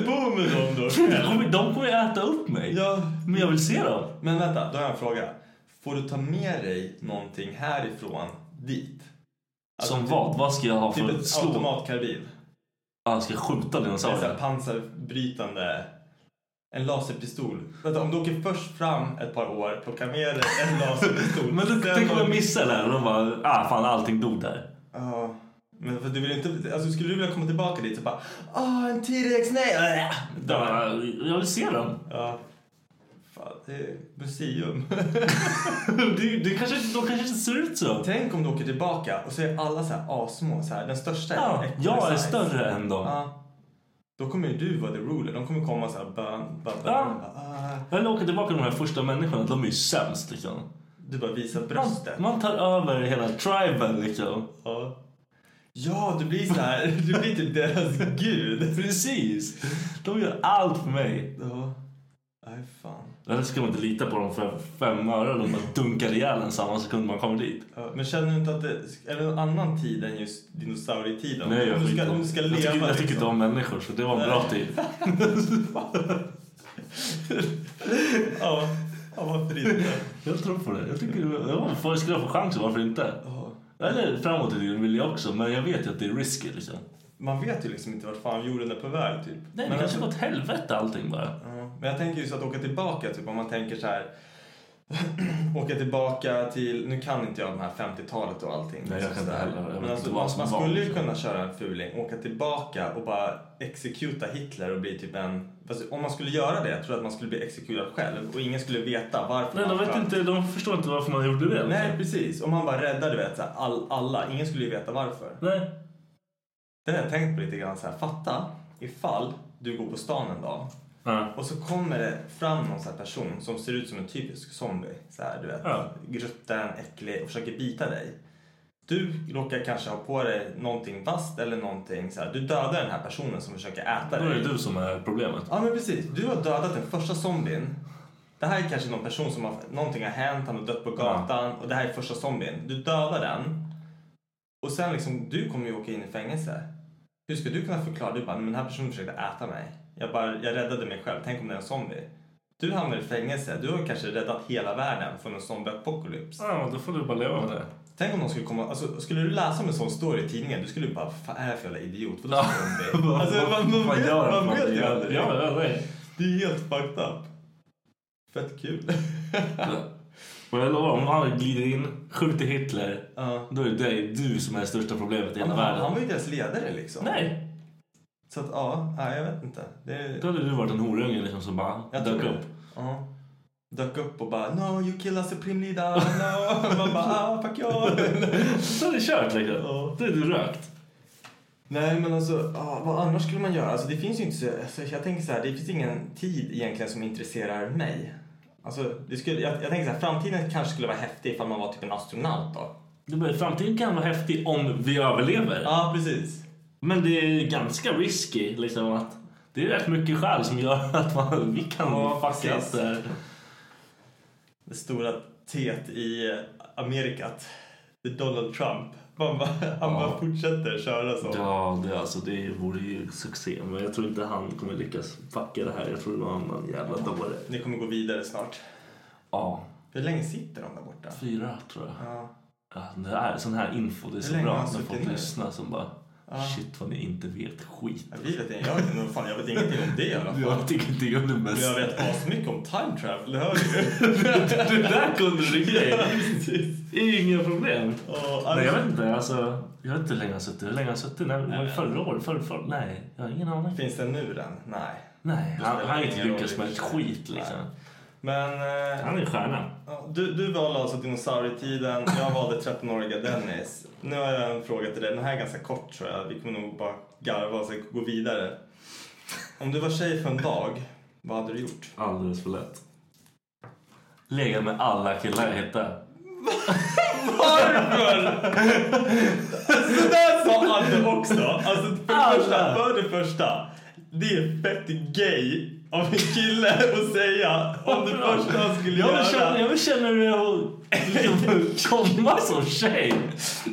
[SPEAKER 5] (laughs) Bo med dem då!
[SPEAKER 2] De kommer- De kommer ju äta upp mig.
[SPEAKER 5] (laughs) ja.
[SPEAKER 2] Men jag vill se dem.
[SPEAKER 5] Men vänta, då har jag en fråga. Får du ta med dig någonting härifrån dit? Alltså,
[SPEAKER 2] Som
[SPEAKER 5] typ-
[SPEAKER 2] vad? Vad ska jag ha
[SPEAKER 5] Typ
[SPEAKER 2] för
[SPEAKER 5] ett
[SPEAKER 2] slå?
[SPEAKER 5] automatkarbin.
[SPEAKER 2] Ja, ska jag skjuta
[SPEAKER 5] Det är så här
[SPEAKER 2] dinosaurier?
[SPEAKER 5] pansarbrytande. En laserpistol. Vänta, om du åker först fram ett par år, plocka med dig en
[SPEAKER 2] (laughs)
[SPEAKER 5] laserpistol.
[SPEAKER 2] Men
[SPEAKER 5] sen
[SPEAKER 2] det- tänk om
[SPEAKER 5] har-
[SPEAKER 2] jag missar det här och de bara, ah fan allting dog där.
[SPEAKER 5] Ja, men för du vill inte, alltså skulle du vilja komma tillbaka dit och bara ah en T-rex, nej! Äh, Där.
[SPEAKER 2] Ja, Jag vill se dem.
[SPEAKER 5] Ja. Fan, det är museum.
[SPEAKER 2] (laughs) Du, du kanske, de kanske inte ser ut så.
[SPEAKER 5] Tänk om du åker tillbaka och så är alla så här assmå, så här, den största
[SPEAKER 2] Ja,
[SPEAKER 5] äcklig
[SPEAKER 2] jag är
[SPEAKER 5] size.
[SPEAKER 2] större än dem.
[SPEAKER 5] Ja. Då kommer ju du vara the ruler, de kommer komma så här bön, bön,
[SPEAKER 2] Ja.
[SPEAKER 5] bön. Ah.
[SPEAKER 2] Jag vill åka tillbaka till de här första människorna, de är ju sämst liksom.
[SPEAKER 5] Du bara visar bröstet.
[SPEAKER 2] Man tar över hela triben liksom.
[SPEAKER 5] Ja. Ja, du blir så här, (laughs) du blir typ deras gud.
[SPEAKER 2] Precis! De gör allt för mig.
[SPEAKER 5] Ja. Nej, fan.
[SPEAKER 2] Eller så kan man inte lita på dem för fem öre. De bara dunkar ihjäl en samma sekund man kommer dit.
[SPEAKER 5] Ja, Men känner du inte att det är det någon annan tid än just dinosaurietiden?
[SPEAKER 2] Nej, jag
[SPEAKER 5] om, du
[SPEAKER 2] skiter
[SPEAKER 5] ska, om du ska leva
[SPEAKER 2] jag tycker, jag tycker inte
[SPEAKER 5] liksom.
[SPEAKER 2] om människor så det var en bra tid.
[SPEAKER 5] Ja, ja varför inte?
[SPEAKER 2] Jag tror på det. Jag tycker, ja, får- skulle jag få chansen, varför inte? Eller framåt i tiden vill jag också, men jag vet ju att det är risky liksom.
[SPEAKER 5] Man vet ju liksom inte vart fan jorden är på väg typ.
[SPEAKER 2] Nej, det
[SPEAKER 5] men,
[SPEAKER 2] kanske går åt helvete allting bara.
[SPEAKER 5] ja, men jag tänker just att åka tillbaka, typ om man tänker så här. (clears throat) åka tillbaka till, nu kan inte jag de här 50-talet och allting.
[SPEAKER 2] Nej, jag kan inte
[SPEAKER 5] Så här.
[SPEAKER 2] heller. Jag vet
[SPEAKER 5] Men
[SPEAKER 2] inte
[SPEAKER 5] alltså,
[SPEAKER 2] vad
[SPEAKER 5] man,
[SPEAKER 2] som
[SPEAKER 5] man
[SPEAKER 2] var.
[SPEAKER 5] skulle ju kunna köra en fuling, åka tillbaka och bara exekuta Hitler och bli typ en... Fast om man skulle göra det, jag tror jag att man skulle bli exekuterad själv och ingen skulle veta varför
[SPEAKER 2] Nej,
[SPEAKER 5] man
[SPEAKER 2] de vet
[SPEAKER 5] sköt.
[SPEAKER 2] inte, de förstår inte varför man gjorde det. liksom.
[SPEAKER 5] Nej, precis. Om man bara räddar du vet, så här, all, alla. Ingen skulle ju veta varför.
[SPEAKER 2] Nej.
[SPEAKER 5] Det har jag tänkt på lite grann. Så här, fatta ifall du går på stan en dag
[SPEAKER 2] Ja.
[SPEAKER 5] och så kommer det fram någon så här person som ser ut som en typisk zombie. Så här, du vet,
[SPEAKER 2] Ja.
[SPEAKER 5] Grutten, äcklig och försöker bita dig. Du råkar kanske ha på dig någonting vasst eller någonting. Så här. Du dödar den här personen som försöker
[SPEAKER 2] Då
[SPEAKER 5] äta
[SPEAKER 2] är
[SPEAKER 5] dig.
[SPEAKER 2] det du som är problemet.
[SPEAKER 5] Ja, men precis. Du har dödat den första zombien. Det här är kanske någon person som har, någonting har hänt, han har dött på gatan och det här är första zombien. Du dödar den och sen liksom, du kommer ju åka in i fängelse. Hur ska du kunna förklara? Du bara, men den här personen försökte äta mig. Jag bara, jag räddade mig själv. Tänk om det är en zombie. Du hamnar i fängelse. Du har kanske räddat hela världen från en zombie-apokalyps.
[SPEAKER 2] Ja, då får du bara leva med det.
[SPEAKER 5] Tänk om någon skulle komma, alltså skulle du läsa om en sån story i tidningen, du skulle ju bara, vad fan är det för jävla idiot? Vadå
[SPEAKER 2] Ja.
[SPEAKER 5] zombie? Alltså man,
[SPEAKER 2] (laughs)
[SPEAKER 5] man,
[SPEAKER 2] Vad
[SPEAKER 5] vet,
[SPEAKER 2] gör
[SPEAKER 5] man
[SPEAKER 2] man?
[SPEAKER 5] vet ju
[SPEAKER 2] Ja,
[SPEAKER 5] aldrig.
[SPEAKER 2] Ja, ja, nej.
[SPEAKER 5] Det är helt fucked up.
[SPEAKER 2] (laughs)
[SPEAKER 5] Fett kul.
[SPEAKER 2] Och jag lovar, om han glider in, skjuter Hitler,
[SPEAKER 5] Ja.
[SPEAKER 2] då är det du som är det största problemet i hela
[SPEAKER 5] Han, han var
[SPEAKER 2] världen.
[SPEAKER 5] ju deras ledare liksom.
[SPEAKER 2] Nej!
[SPEAKER 5] Så att ja, nej, jag vet inte. Det är...
[SPEAKER 2] Då hade du varit en horunge liksom som bara
[SPEAKER 5] jag tror
[SPEAKER 2] dök
[SPEAKER 5] det.
[SPEAKER 2] upp.
[SPEAKER 5] Ja. Dök upp och bara no you kill us supreme leader, no. (laughs) Man bara ah fuck you.
[SPEAKER 2] (laughs) Så är det kört liksom. Då är du rökt.
[SPEAKER 5] nej men alltså ja, vad annars skulle man göra? Alltså det finns ju inte så, alltså, jag tänker så här, det finns ingen tid egentligen som intresserar mig. Alltså det skulle, jag, jag tänker så här, framtiden kanske skulle vara häftig ifall man var typ en astronaut då.
[SPEAKER 2] Det blir- Framtiden kan vara häftig om vi överlever.
[SPEAKER 5] Ja, precis.
[SPEAKER 2] Men det är ganska risky liksom att det är rätt mycket skäl som gör (laughs) att man, vi kan
[SPEAKER 5] Ja,
[SPEAKER 2] fucka
[SPEAKER 5] precis.
[SPEAKER 2] upp det här.
[SPEAKER 5] Det stora teet i Amerikat. Det är Donald Trump. Man bara, han bara fortsätter köra så.
[SPEAKER 2] Ja, det, alltså, det vore ju succé. Men jag tror inte han kommer lyckas fucka det här. Jag tror det var någon jävla dåre.
[SPEAKER 5] Ni kommer gå vidare snart.
[SPEAKER 2] Ja,
[SPEAKER 5] Hur länge sitter de där borta?
[SPEAKER 2] fyra tror jag.
[SPEAKER 5] Ja.
[SPEAKER 2] Ja, det här, sån här info, det är så
[SPEAKER 5] länge har
[SPEAKER 2] bra
[SPEAKER 5] han
[SPEAKER 2] när
[SPEAKER 5] suttit
[SPEAKER 2] folk
[SPEAKER 5] inne?
[SPEAKER 2] lyssnar som bara Shit vad ni inte vet skit.
[SPEAKER 5] Ja, Vi vet, jag, vet, inte, fan, jag vet ingenting om det i alla fall.
[SPEAKER 2] Jag tycker inte jag är det
[SPEAKER 5] Men jag
[SPEAKER 2] bästa.
[SPEAKER 5] vet asmycket om time travel, det hör du
[SPEAKER 2] (laughs) Det där kunde du grejer.
[SPEAKER 5] Precis.
[SPEAKER 2] Inga problem.
[SPEAKER 5] Ja,
[SPEAKER 2] Nej, jag
[SPEAKER 5] alltså-
[SPEAKER 2] vet inte. Alltså, jag vet inte hur länge jag har suttit. Hur länge har jag suttit? Nej, var det förra året? Förra, förra, nej, jag har ingen aning.
[SPEAKER 5] Finns den nu den? Nej.
[SPEAKER 2] Nej,
[SPEAKER 5] Det
[SPEAKER 2] han
[SPEAKER 5] spelar
[SPEAKER 2] han har
[SPEAKER 5] ingen
[SPEAKER 2] inte
[SPEAKER 5] roll
[SPEAKER 2] lyckats
[SPEAKER 5] i
[SPEAKER 2] med
[SPEAKER 5] och
[SPEAKER 2] ett
[SPEAKER 5] för sig.
[SPEAKER 2] skit liksom.
[SPEAKER 5] Men eh,
[SPEAKER 2] Han är en stjärna.
[SPEAKER 5] ja, du, du valde alltså dinosaurietiden, jag valde 13-åriga Dennis. Nu har jag en fråga till dig, den här är ganska kort tror jag. Vi kommer nog bara garva och sen gå vidare. Om du var tjej för en dag, vad hade du gjort?
[SPEAKER 2] Alldeles för lätt. Lägga med alla killar jag hittar.
[SPEAKER 5] Det där sa Adde också! Alltså för det, första, för det första, det är fett gay av en kille att säga om det första han skulle
[SPEAKER 2] Jag
[SPEAKER 5] göra.
[SPEAKER 2] vill känna, jag vill känna hur jag liksom, komma som tjej.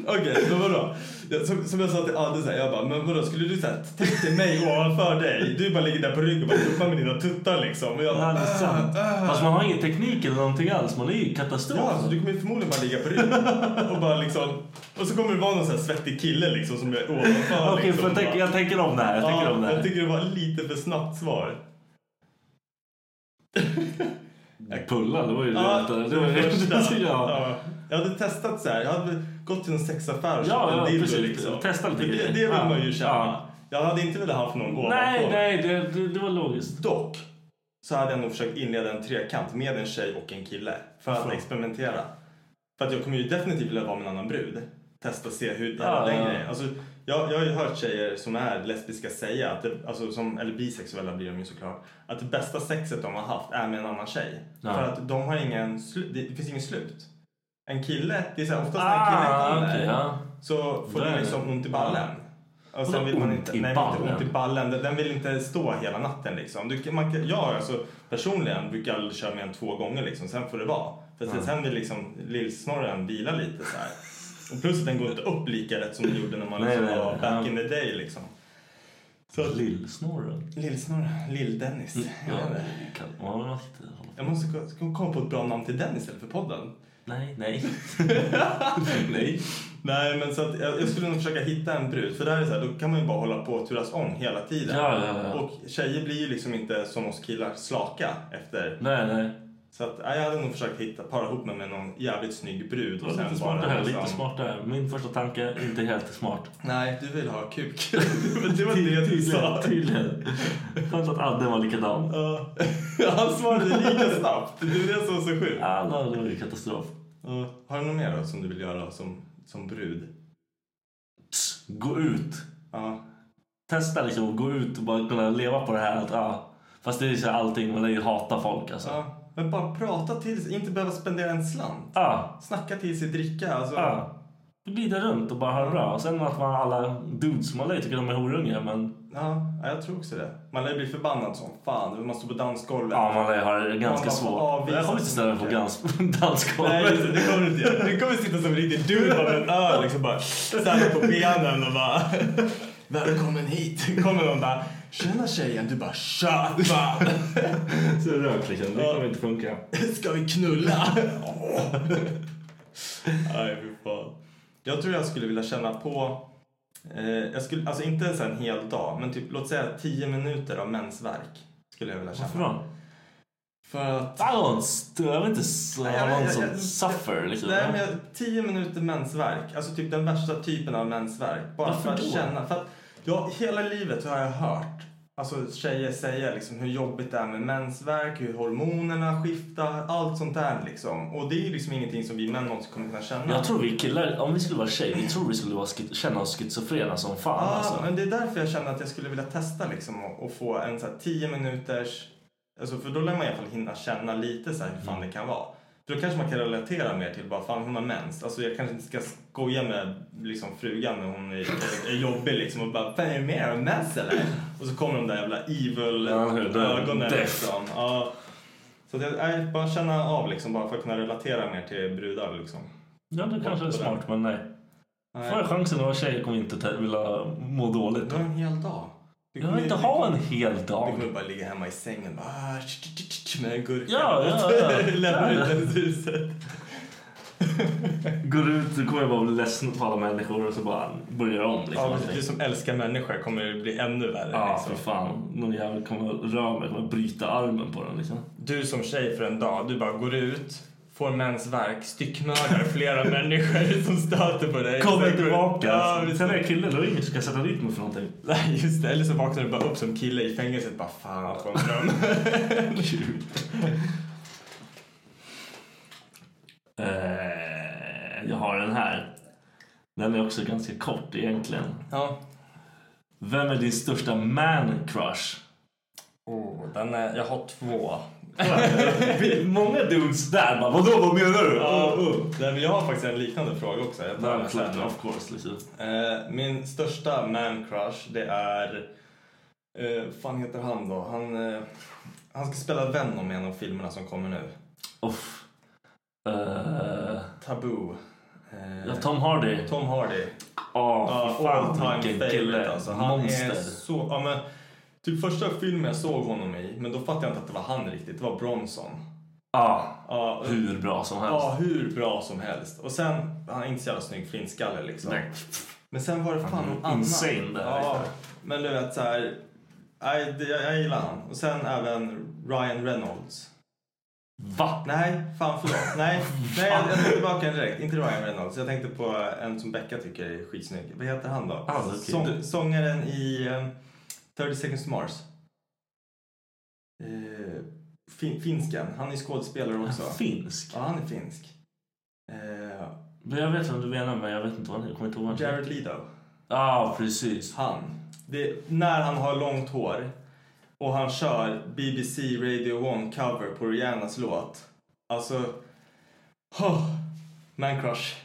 [SPEAKER 5] Okej, men vadå? Jag- Som, som jag sa till Adde, så här, jag bara, men vadå skulle du såhär, tänk dig mig ovanför dig. Du bara ligger där på ryggen och bara tuppar med dina tuttar liksom. Och jag
[SPEAKER 2] Ja,
[SPEAKER 5] bara,
[SPEAKER 2] det är sant. Fast man har ingen teknik eller någonting alls. Man är ju katastrof.
[SPEAKER 5] ja alltså, du kommer ju förmodligen bara ligga på ryggen. Och bara liksom, och så kommer det vara någon sån här svettig kille liksom som är ovanför
[SPEAKER 2] Okej,
[SPEAKER 5] liksom.
[SPEAKER 2] för jag, tänker, jag tänker om det här. Jag tänker
[SPEAKER 5] ja,
[SPEAKER 2] om det
[SPEAKER 5] jag
[SPEAKER 2] här.
[SPEAKER 5] tycker det var lite för snabbt svar.
[SPEAKER 2] Pulla, det var ju
[SPEAKER 5] Ja,
[SPEAKER 2] det.
[SPEAKER 5] det var det första.
[SPEAKER 2] (laughs) ja.
[SPEAKER 5] Ja. Jag hade testat så här. Jag hade gått till en sexaffär och
[SPEAKER 2] Ja,
[SPEAKER 5] köpt en
[SPEAKER 2] ja,
[SPEAKER 5] dildo,
[SPEAKER 2] precis. Testa lite
[SPEAKER 5] För det,
[SPEAKER 2] grejer.
[SPEAKER 5] det vill
[SPEAKER 2] Ja.
[SPEAKER 5] man ju känna.
[SPEAKER 2] Ja.
[SPEAKER 5] Jag hade inte velat ha haft någon ovanpå.
[SPEAKER 2] Nej, nej, det, det, det var logiskt.
[SPEAKER 5] Dock så hade jag nog försökt inleda en trekant med en tjej och en kille för att experimentera. För att jag kommer ju definitivt vilja vara med en annan brud. Testa och se hur det
[SPEAKER 2] Ja,
[SPEAKER 5] ah,
[SPEAKER 2] ja.
[SPEAKER 5] längre är. Alltså, jag, jag har ju hört tjejer som är lesbiska säga, att det, alltså som, eller bisexuella blir de ju såklart, att det bästa sexet de har haft är med en annan tjej.
[SPEAKER 2] Ja.
[SPEAKER 5] För att de har ingen slu, det, det finns ingen slut. En kille, det är så här, oftast när en kille
[SPEAKER 2] Ah,
[SPEAKER 5] kommer
[SPEAKER 2] okej. ja.
[SPEAKER 5] så får
[SPEAKER 2] Där
[SPEAKER 5] den
[SPEAKER 2] är
[SPEAKER 5] liksom
[SPEAKER 2] det.
[SPEAKER 5] ont i ballen. Och sen
[SPEAKER 2] Vadå
[SPEAKER 5] vill man
[SPEAKER 2] ont
[SPEAKER 5] inte,
[SPEAKER 2] i
[SPEAKER 5] nej, inte
[SPEAKER 2] ballen?
[SPEAKER 5] ont i ballen. Den- Den vill inte stå hela natten liksom. Du, kan- man, kan- jag alltså, personligen brukar jag köra med en två gånger liksom. Sen får det vara. För sen, sen vill liksom lillsnorren vila lite så här. Och plus att den går inte upp lika rätt som den gjorde när man
[SPEAKER 2] Nej,
[SPEAKER 5] liksom
[SPEAKER 2] nej,
[SPEAKER 5] var
[SPEAKER 2] nej.
[SPEAKER 5] back
[SPEAKER 2] Ja.
[SPEAKER 5] in the day liksom.
[SPEAKER 2] Lillsnorren.
[SPEAKER 5] Lillsnorren, Lill-Dennis.
[SPEAKER 2] Mm, Ja, det kan, ja, men man ska inte hålla på.
[SPEAKER 5] Jag måste ko- ko- komma på ett bra namn till Dennis istället för podden.
[SPEAKER 2] Nej, nej. nej.
[SPEAKER 5] Nej, men så att jag, jag skulle nog försöka hitta en brud. För där är det så här, då kan man ju bara hålla på och turas om hela tiden.
[SPEAKER 2] Ja, ja, ja.
[SPEAKER 5] Och tjejer blir ju liksom inte som oss killar slaka efter.
[SPEAKER 2] Nej, nej.
[SPEAKER 5] Så att, nej, jag hade nog försökt hitta, para ihop mig med någon jävligt snygg brud.
[SPEAKER 2] Det var lite smart det
[SPEAKER 5] bara
[SPEAKER 2] här,
[SPEAKER 5] liksom-
[SPEAKER 2] lite smart det här. Min första tanke, inte helt (laughs) smart.
[SPEAKER 5] Nej, du vill ha kuk. (laughs) Men det var det du sa.
[SPEAKER 2] Tydligen. Tydligen. Skönt att Adde var likadan.
[SPEAKER 5] Ja. (laughs) Han svarade lika snabbt. Det är det som är så sjukt.
[SPEAKER 2] Alla, det var ju katastrof.
[SPEAKER 5] Ja. Har du något mer då som du vill göra som, som brud?
[SPEAKER 2] Tss, Gå ut.
[SPEAKER 5] Ja.
[SPEAKER 2] Testa liksom att gå ut och bara kunna leva på det här. Att, ja. Fast det är ju så här allting, man lär ju hata folk alltså. Ja.
[SPEAKER 5] ja. Men bara prata till sig, inte behöva spendera en slant. Snacka till sig, dricka. Alltså,
[SPEAKER 2] Ja. Glida runt och bara ha det bra. Och sen att man har alla dudes, man lär ju tycka de är horungar men
[SPEAKER 5] Ja, ja, jag tror också det. Man lär ju bli förbannad som fan. Man står på dansgolvet.
[SPEAKER 2] ja, man lär ju ha det ganska
[SPEAKER 5] Man får
[SPEAKER 2] svårt.
[SPEAKER 5] avvisa
[SPEAKER 2] Jag kommer inte ställa mig på
[SPEAKER 5] mycket.
[SPEAKER 2] dans-
[SPEAKER 5] Nej, just
[SPEAKER 2] (laughs)
[SPEAKER 5] det
[SPEAKER 2] dansgolvet.
[SPEAKER 5] det kommer du inte göra. Du kommer sitta som en riktig dude av en öl liksom bara stanna på benen och bara Välkommen hit. Kommer någon bara Tjena tjejen. Du bara tja fan.
[SPEAKER 2] Så rök liksom, det kommer inte funka.
[SPEAKER 5] Ska vi knulla? Åh. (laughs) Nej fy fan. Jag tror jag skulle vilja känna på eh, jag skulle, alltså inte ens en hel dag, men typ låt säga 10 minuter av mensvärk skulle jag vilja känna.
[SPEAKER 2] Varför då?
[SPEAKER 5] För att
[SPEAKER 2] Balance! Du behöver inte s-
[SPEAKER 5] Nej,
[SPEAKER 2] ha
[SPEAKER 5] jag-
[SPEAKER 2] någon
[SPEAKER 5] jag-
[SPEAKER 2] som
[SPEAKER 5] jag-
[SPEAKER 2] suffer liksom.
[SPEAKER 5] Nej, men jag, tio minuter mensvärk. Alltså typ den värsta typen av mensvärk. Bara
[SPEAKER 2] Varför
[SPEAKER 5] för att
[SPEAKER 2] då?
[SPEAKER 5] känna. För att jag, hela livet har jag hört alltså, tjejer säga liksom, hur jobbigt det är med mensvärk, hur hormonerna skiftar, allt sånt där liksom. Och det är ju liksom ingenting som vi män någonsin kommer kunna känna.
[SPEAKER 2] Jag tror vi killar, om vi skulle vara tjejer, vi tror vi skulle vara schi- känna oss schizofrena som fan
[SPEAKER 5] ah,
[SPEAKER 2] alltså.
[SPEAKER 5] men det är därför jag känner att jag skulle vilja testa liksom och, och få
[SPEAKER 2] Mm.
[SPEAKER 5] en så här tio minuters... Alltså, för då lär man i alla fall hinna känna lite så här hur fan det kan vara. För då kanske man kan relatera mer till bara fan hon har mens. Alltså jag kanske inte ska skoja med liksom frugan när hon är, är, är jobbig liksom och bara fan är du med? Har du mens eller? Och så kommer de där jävla evil
[SPEAKER 2] Ja, det där-
[SPEAKER 5] ögonen
[SPEAKER 2] death.
[SPEAKER 5] liksom. Ja. Så att jag, nej, bara känna av liksom bara för att kunna relatera mer till brudar liksom.
[SPEAKER 2] Ja, det kanske är smart, men nej.
[SPEAKER 5] Nej.
[SPEAKER 2] Får jag chansen att vara tjej kommer inte ta- vilja må dåligt.
[SPEAKER 5] Du har en hel dag. Du
[SPEAKER 2] Jag
[SPEAKER 5] kommer-
[SPEAKER 2] vill inte
[SPEAKER 5] du
[SPEAKER 2] ha en
[SPEAKER 5] kommer-
[SPEAKER 2] hel
[SPEAKER 5] Du
[SPEAKER 2] dag.
[SPEAKER 5] kommer bara ligga hemma i sängen och bara, ah, tch, tch, tch, tch, med en gurka.
[SPEAKER 2] Ja, ja,
[SPEAKER 5] (laughs)
[SPEAKER 2] ja.
[SPEAKER 5] Lämna
[SPEAKER 2] Ja.
[SPEAKER 5] ut ens huset.
[SPEAKER 2] Går ut, då kommer jag bara bli ledsen på alla människor och så bara börjar jag om. Liksom.
[SPEAKER 5] Ja, precis. du som älskar människor kommer det bli ännu värre.
[SPEAKER 2] Ja,
[SPEAKER 5] liksom.
[SPEAKER 2] för fan. Någon jävel kommer röra mig, kommer bryta armen på den liksom.
[SPEAKER 5] Du som tjej för en dag, du bara går ut, får mensvärk, styckmördar flera (laughs) människor som stöter på dig.
[SPEAKER 2] Kommer
[SPEAKER 5] Sen går-
[SPEAKER 2] tillbaka!
[SPEAKER 5] Ja,
[SPEAKER 2] Ja,
[SPEAKER 5] precis.
[SPEAKER 2] Sen är jag kille, då är det ingen som ska sätta dit mig för (laughs) någonting.
[SPEAKER 5] Nej, just det. Eller så vaknar du bara upp som kille i fängelset bara fan vad en dröm.
[SPEAKER 2] Eh, jag har den här. Den är också ganska kort egentligen.
[SPEAKER 5] (laughs) ja.
[SPEAKER 2] Vem är din största man crush?
[SPEAKER 5] Oh, den är, jag har två.
[SPEAKER 2] Många dudes där bara vadå vad menar du?
[SPEAKER 5] Ja,
[SPEAKER 2] Oh, oh.
[SPEAKER 5] nej, men jag har faktiskt en liknande fråga också. Jag tar den
[SPEAKER 2] Vem
[SPEAKER 5] sen.
[SPEAKER 2] of course liksom.
[SPEAKER 5] Eh, min största man crush det är... Eh, fan heter han då? Han, eh, han ska spela Venom i en av filmerna som kommer nu.
[SPEAKER 2] Off. Eh,
[SPEAKER 5] Taboo. Eh,
[SPEAKER 2] ja, Tom Hardy.
[SPEAKER 5] Tom Hardy.
[SPEAKER 2] Ja,
[SPEAKER 5] Ja,
[SPEAKER 2] fy
[SPEAKER 5] all
[SPEAKER 2] fan
[SPEAKER 5] time
[SPEAKER 2] vilken
[SPEAKER 5] favorite
[SPEAKER 2] kille.
[SPEAKER 5] alltså. Han
[SPEAKER 2] Monster.
[SPEAKER 5] är så... Ja, men, typ första filmen jag såg honom i, men då fattade jag inte att det var han riktigt. Det var Bronson.
[SPEAKER 2] Ja,
[SPEAKER 5] Ja,
[SPEAKER 2] hur alltså? bra som helst.
[SPEAKER 5] Ja, hur bra som helst. Och sen, han är inte så jävla snygg flintskalle liksom.
[SPEAKER 2] Nej.
[SPEAKER 5] Men sen var det fan
[SPEAKER 2] Han är
[SPEAKER 5] någon annan.
[SPEAKER 2] insane där,
[SPEAKER 5] ja,
[SPEAKER 2] liksom.
[SPEAKER 5] Men du vet så här. Nej, det- jag, jag gillar han. Och sen även Ryan Reynolds.
[SPEAKER 2] Va?
[SPEAKER 5] Nej, fan förlåt. Nej,
[SPEAKER 2] (laughs)
[SPEAKER 5] nej jag, jag tar tillbaka den direkt. Inte Ryan Reynolds. Jag tänkte på en som Becka tycker är skitsnygg. Vad heter han då?
[SPEAKER 2] Ah, okej.
[SPEAKER 5] Sång, sångaren i eh, 30 seconds to Mars. Eh, fin, finsken. Han är skådespelare
[SPEAKER 2] Alltså.
[SPEAKER 5] också.
[SPEAKER 2] Ah, Finsk?
[SPEAKER 5] Ja, han är finsk. Eh,
[SPEAKER 2] Men jag vet vad du menar men jag vet inte vad han Jag kommer inte ihåg vad han
[SPEAKER 5] Jared Leto.
[SPEAKER 2] Ja, ah, precis.
[SPEAKER 5] Han. Det, när han har långt hår och han kör BBC Radio 1 cover på Rihannas låt. Alltså... Oh, man crush.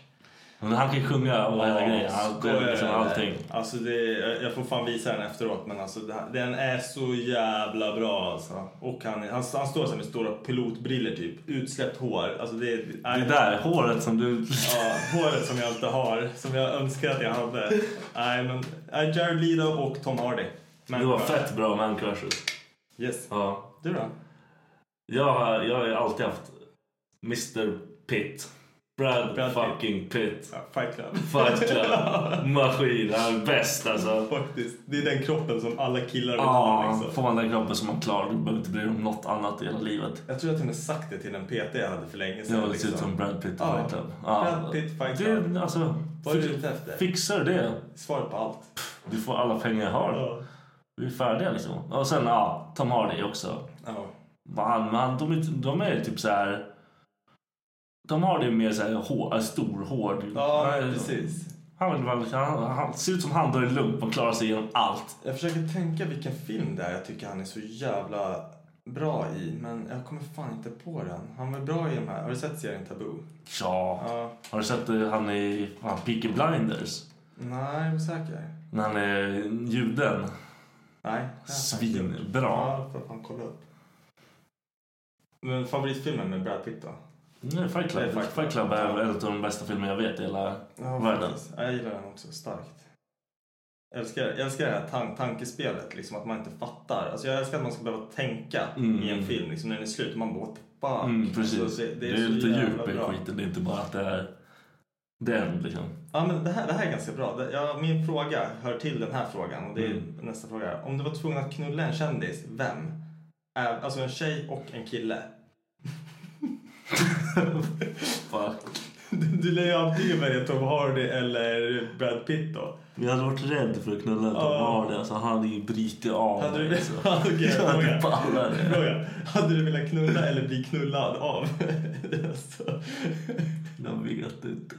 [SPEAKER 2] Men han kan sjunga och hela grejen. Han
[SPEAKER 5] skojar
[SPEAKER 2] kan liksom
[SPEAKER 5] jag med dig.
[SPEAKER 2] allting.
[SPEAKER 5] Alltså det, jag- jag får fan visa den efteråt men alltså det, här- den är så jävla bra alltså. Och han, är- han, han står så här med stora pilotbriller typ, utsläppt hår. Alltså det, det
[SPEAKER 2] Det där håret som du...
[SPEAKER 5] Ja, håret som jag inte har, som jag önskar att jag hade. Nej, men nej, Jared Leto och Tom Hardy. Men,
[SPEAKER 2] Det var fett bra man crushes.
[SPEAKER 5] Yes.
[SPEAKER 2] Ja.
[SPEAKER 5] Du då?
[SPEAKER 2] Jag, har- jag har ju alltid haft Mr Pitt. Brad,
[SPEAKER 5] Brad Pitt.
[SPEAKER 2] fucking Pitt.
[SPEAKER 5] Ja, Fight Club.
[SPEAKER 2] Fight
[SPEAKER 5] (laughs)
[SPEAKER 2] Club. Maskin. Han är bäst alltså.
[SPEAKER 5] Faktiskt. Det är den kroppen som alla killar vill ha.
[SPEAKER 2] Ja,
[SPEAKER 5] Liksom.
[SPEAKER 2] får man den kroppen som man klarar. Du behöver inte bry dig om något annat i hela livet.
[SPEAKER 5] Jag tror jag till och med sagt det till en PT jag hade för länge sedan. liksom.
[SPEAKER 2] Jag vill se ut som Brad Pitt i
[SPEAKER 5] Ja.
[SPEAKER 2] Fight Club.
[SPEAKER 5] Brad Pitt, Fight Club.
[SPEAKER 2] Det, alltså,
[SPEAKER 5] Vad är du
[SPEAKER 2] fix-
[SPEAKER 5] ute efter?
[SPEAKER 2] Fixar du det,
[SPEAKER 5] Svaret på allt.
[SPEAKER 2] du får alla pengar jag har.
[SPEAKER 5] Ja.
[SPEAKER 2] Vi är färdiga liksom. Och sen ja, Tom Hardy också.
[SPEAKER 5] Ja.
[SPEAKER 2] Vad Han, han, de, är- de är typ så här. De har det mer så här hår, äh, stor, hård.
[SPEAKER 5] Ja,
[SPEAKER 2] Han är-
[SPEAKER 5] precis.
[SPEAKER 2] Han, vill vara- han, han ser ut som han drar det lugnt och klarar sig igenom allt.
[SPEAKER 5] Jag försöker tänka vilken film det är jag tycker han är så jävla bra i, men jag kommer fan inte på den. Han var bra i de här. Har du sett serien Taboo?
[SPEAKER 2] Ja.
[SPEAKER 5] Ja.
[SPEAKER 2] Har du sett eh, han i fan, Peaky Blinders?
[SPEAKER 5] Nej, jag är osäker.
[SPEAKER 2] När han är juden.
[SPEAKER 5] Nej.
[SPEAKER 2] Svinbra.
[SPEAKER 5] Ja, för fan kolla upp. Men favoritfilmen med Brad Pitt då?
[SPEAKER 2] Nej, Mm, Fight
[SPEAKER 5] Det är
[SPEAKER 2] Club.
[SPEAKER 5] Fight Club.
[SPEAKER 2] Fight Club är en av de bästa filmer jag vet i hela världen.
[SPEAKER 5] faktiskt. Ja, jag gillar den också starkt. Jag älskar, jag älskar det här tan- tankespelet, liksom, att man inte fattar. Alltså, jag älskar att man ska behöva tänka
[SPEAKER 2] Mm.
[SPEAKER 5] i en film. Liksom, när den är slut, man bara what the fuck.
[SPEAKER 2] Mm, precis.
[SPEAKER 5] Alltså,
[SPEAKER 2] det, är,
[SPEAKER 5] så
[SPEAKER 2] lite
[SPEAKER 5] jävla
[SPEAKER 2] djup i
[SPEAKER 5] bra.
[SPEAKER 2] skiten. Det är inte bara att det är den liksom.
[SPEAKER 5] Ja, men det, här, det här är ganska bra. Det, ja, min fråga hör till den här frågan. Och det är
[SPEAKER 2] Mm.
[SPEAKER 5] nästa fråga. Om du var tvungen att knulla en kändis, vem? Ä- Alltså en tjej och en kille. (laughs)
[SPEAKER 2] Fuck.
[SPEAKER 5] Du, du lär ju antingen välja Tom Hardy eller Brad Pitt då.
[SPEAKER 2] Jag hade varit rädd för att knulla Tom
[SPEAKER 5] Ja.
[SPEAKER 2] Hardy. Alltså, han är ju bryter av
[SPEAKER 5] Hade du,
[SPEAKER 2] mig.
[SPEAKER 5] (laughs)
[SPEAKER 2] Alltså.
[SPEAKER 5] Okej,
[SPEAKER 2] Jag hade
[SPEAKER 5] fråga.
[SPEAKER 2] pallat det.
[SPEAKER 5] fråga. Hade du velat knulla eller bli knullad av? (laughs) Det är alltså-
[SPEAKER 2] Jag vet inte.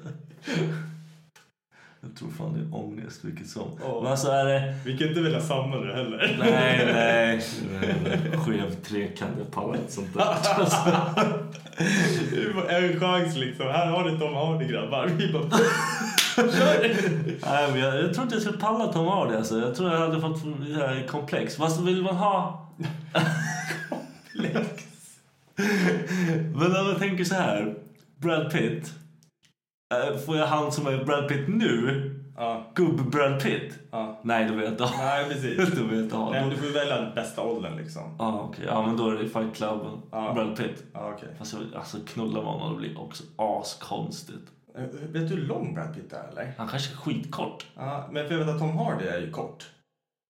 [SPEAKER 2] Jag tror fan det är ångest vilket som. Men alltså är det...
[SPEAKER 5] Vi kan inte vilja samla det heller.
[SPEAKER 2] Nej, nej. nej, nej. Skev trekantig palett sånt där.
[SPEAKER 5] (laughs) Du får en chans liksom. Här har du Tom Hardy grabbar. Vi bara...
[SPEAKER 2] Nej, men jag, jag tror inte jag skulle palla Tom Hardy alltså. Jag tror jag hade fått det här komplex. Vad vill man ha? komplex? men om jag tänker så här. Brad Pitt. Eh, Får jag han som är Brad Pitt nu?
[SPEAKER 5] Ja.
[SPEAKER 2] Gubb-Brad Pitt?
[SPEAKER 5] Ja.
[SPEAKER 2] Nej, då vill jag inte ha. (laughs)
[SPEAKER 5] Nej, precis.
[SPEAKER 2] Då vill jag inte ha.
[SPEAKER 5] Nej, men du får ju välja den bästa åldern liksom.
[SPEAKER 2] Ja, Ah, okej. Ja, men då är det Fight Club. Brad Pitt.
[SPEAKER 5] Ja, okej.
[SPEAKER 2] Fast jag, alltså knulla med honom det blir också askonstigt.
[SPEAKER 5] Eh, Vet du hur lång Brad Pitt är eller?
[SPEAKER 2] Han kanske är skitkort.
[SPEAKER 5] Ja, men för jag vet att Tom Hardy är ju kort.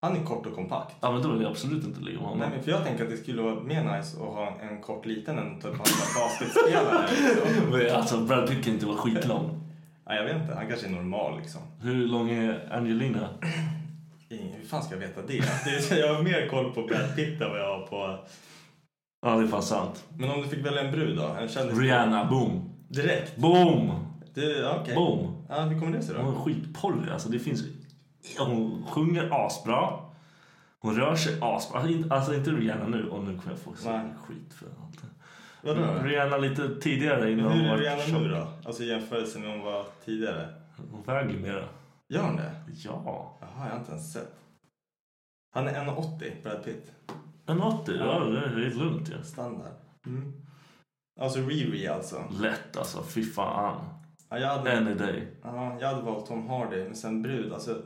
[SPEAKER 5] Han är kort och kompakt.
[SPEAKER 2] Ja, men då vill jag absolut inte ligga med honom.
[SPEAKER 5] Nej, men för jag tänker att det skulle vara mer nice att ha en kort liten än typ han som basketspelare.
[SPEAKER 2] (laughs)
[SPEAKER 5] liksom.
[SPEAKER 2] Men alltså Brad Pitt kan inte vara skitlång.
[SPEAKER 5] Ja, jag vet inte, han kanske är normal liksom.
[SPEAKER 2] Hur lång är Angelina?
[SPEAKER 5] Ingen, hur fan ska jag veta det? det är, jag har mer koll på Brad Pitt än vad jag har på...
[SPEAKER 2] Ja, det är fan sant.
[SPEAKER 5] Men om du fick välja en brud då? En kändis?
[SPEAKER 2] Rihanna, boom.
[SPEAKER 5] Direkt?
[SPEAKER 2] Boom!
[SPEAKER 5] Du, ja, okej.
[SPEAKER 2] Boom!
[SPEAKER 5] Ja, hur kommer det sig
[SPEAKER 2] Hon
[SPEAKER 5] då?
[SPEAKER 2] är skitporrig. Alltså, det finns... Hon sjunger asbra. Hon rör sig asbra. Alltså, inte- Alltså inte Rihanna nu. Och nu kommer jag få så
[SPEAKER 5] Nej.
[SPEAKER 2] skit för allt.
[SPEAKER 5] Vadå?
[SPEAKER 2] Rihanna lite tidigare innan
[SPEAKER 5] Hur är
[SPEAKER 2] var
[SPEAKER 5] Rihanna
[SPEAKER 2] tjock.
[SPEAKER 5] nu då? Alltså i jämförelse med hon var tidigare.
[SPEAKER 2] Hon väger mera.
[SPEAKER 5] Gör hon det?
[SPEAKER 2] Ja.
[SPEAKER 5] Jaha, jag har inte ens sett. Han är 1,80, Brad Pitt.
[SPEAKER 2] En 80? Ja, det är det är lugnt ju.
[SPEAKER 5] Standard. Mm. Alltså Riri alltså.
[SPEAKER 2] Lätt alltså. Fy fan.
[SPEAKER 5] Ja, jag, hade,
[SPEAKER 2] Any day.
[SPEAKER 5] ja, jag hade valt Tom Hardy, men sen brud alltså.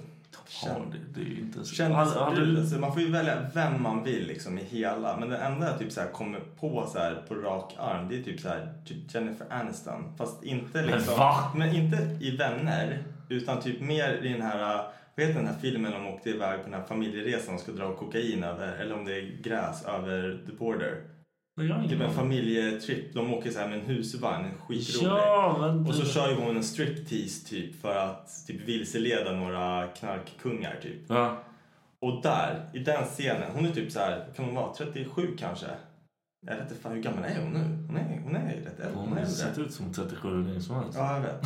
[SPEAKER 2] Har det, det är ju inte så... Hade- hade
[SPEAKER 5] Kändisbrud,
[SPEAKER 2] du-
[SPEAKER 5] alltså, man får ju välja vem man vill liksom i hela. Men det enda jag typ så här kommer på så här på rak arm det är typ så här typ Jennifer Aniston. Fast inte liksom...
[SPEAKER 2] va?
[SPEAKER 5] Men inte i Vänner, utan typ mer i den här... Vet du den här filmen de åkte iväg på den här familjeresan och ska dra kokain över, eller om det är gräs, över the border.
[SPEAKER 2] Men jag har
[SPEAKER 5] Typ
[SPEAKER 2] ingen
[SPEAKER 5] en
[SPEAKER 2] aning.
[SPEAKER 5] familjetrip. De åker så här med en husvagn, skitrolig.
[SPEAKER 2] Ja, men...
[SPEAKER 5] Och så kör ju hon en striptease typ för att typ vilseleda några knarkkungar typ.
[SPEAKER 2] Ja.
[SPEAKER 5] Och där, i den scenen, hon är typ så här, kan hon vara 37 kanske? Jag vet inte fan, hur gammal är hon nu? Hon är, hon är rätt äldre.
[SPEAKER 2] Hon
[SPEAKER 5] Hon är
[SPEAKER 2] har sett
[SPEAKER 5] äldre.
[SPEAKER 2] ut som 37 hur länge som helst.
[SPEAKER 5] Ja, jag vet.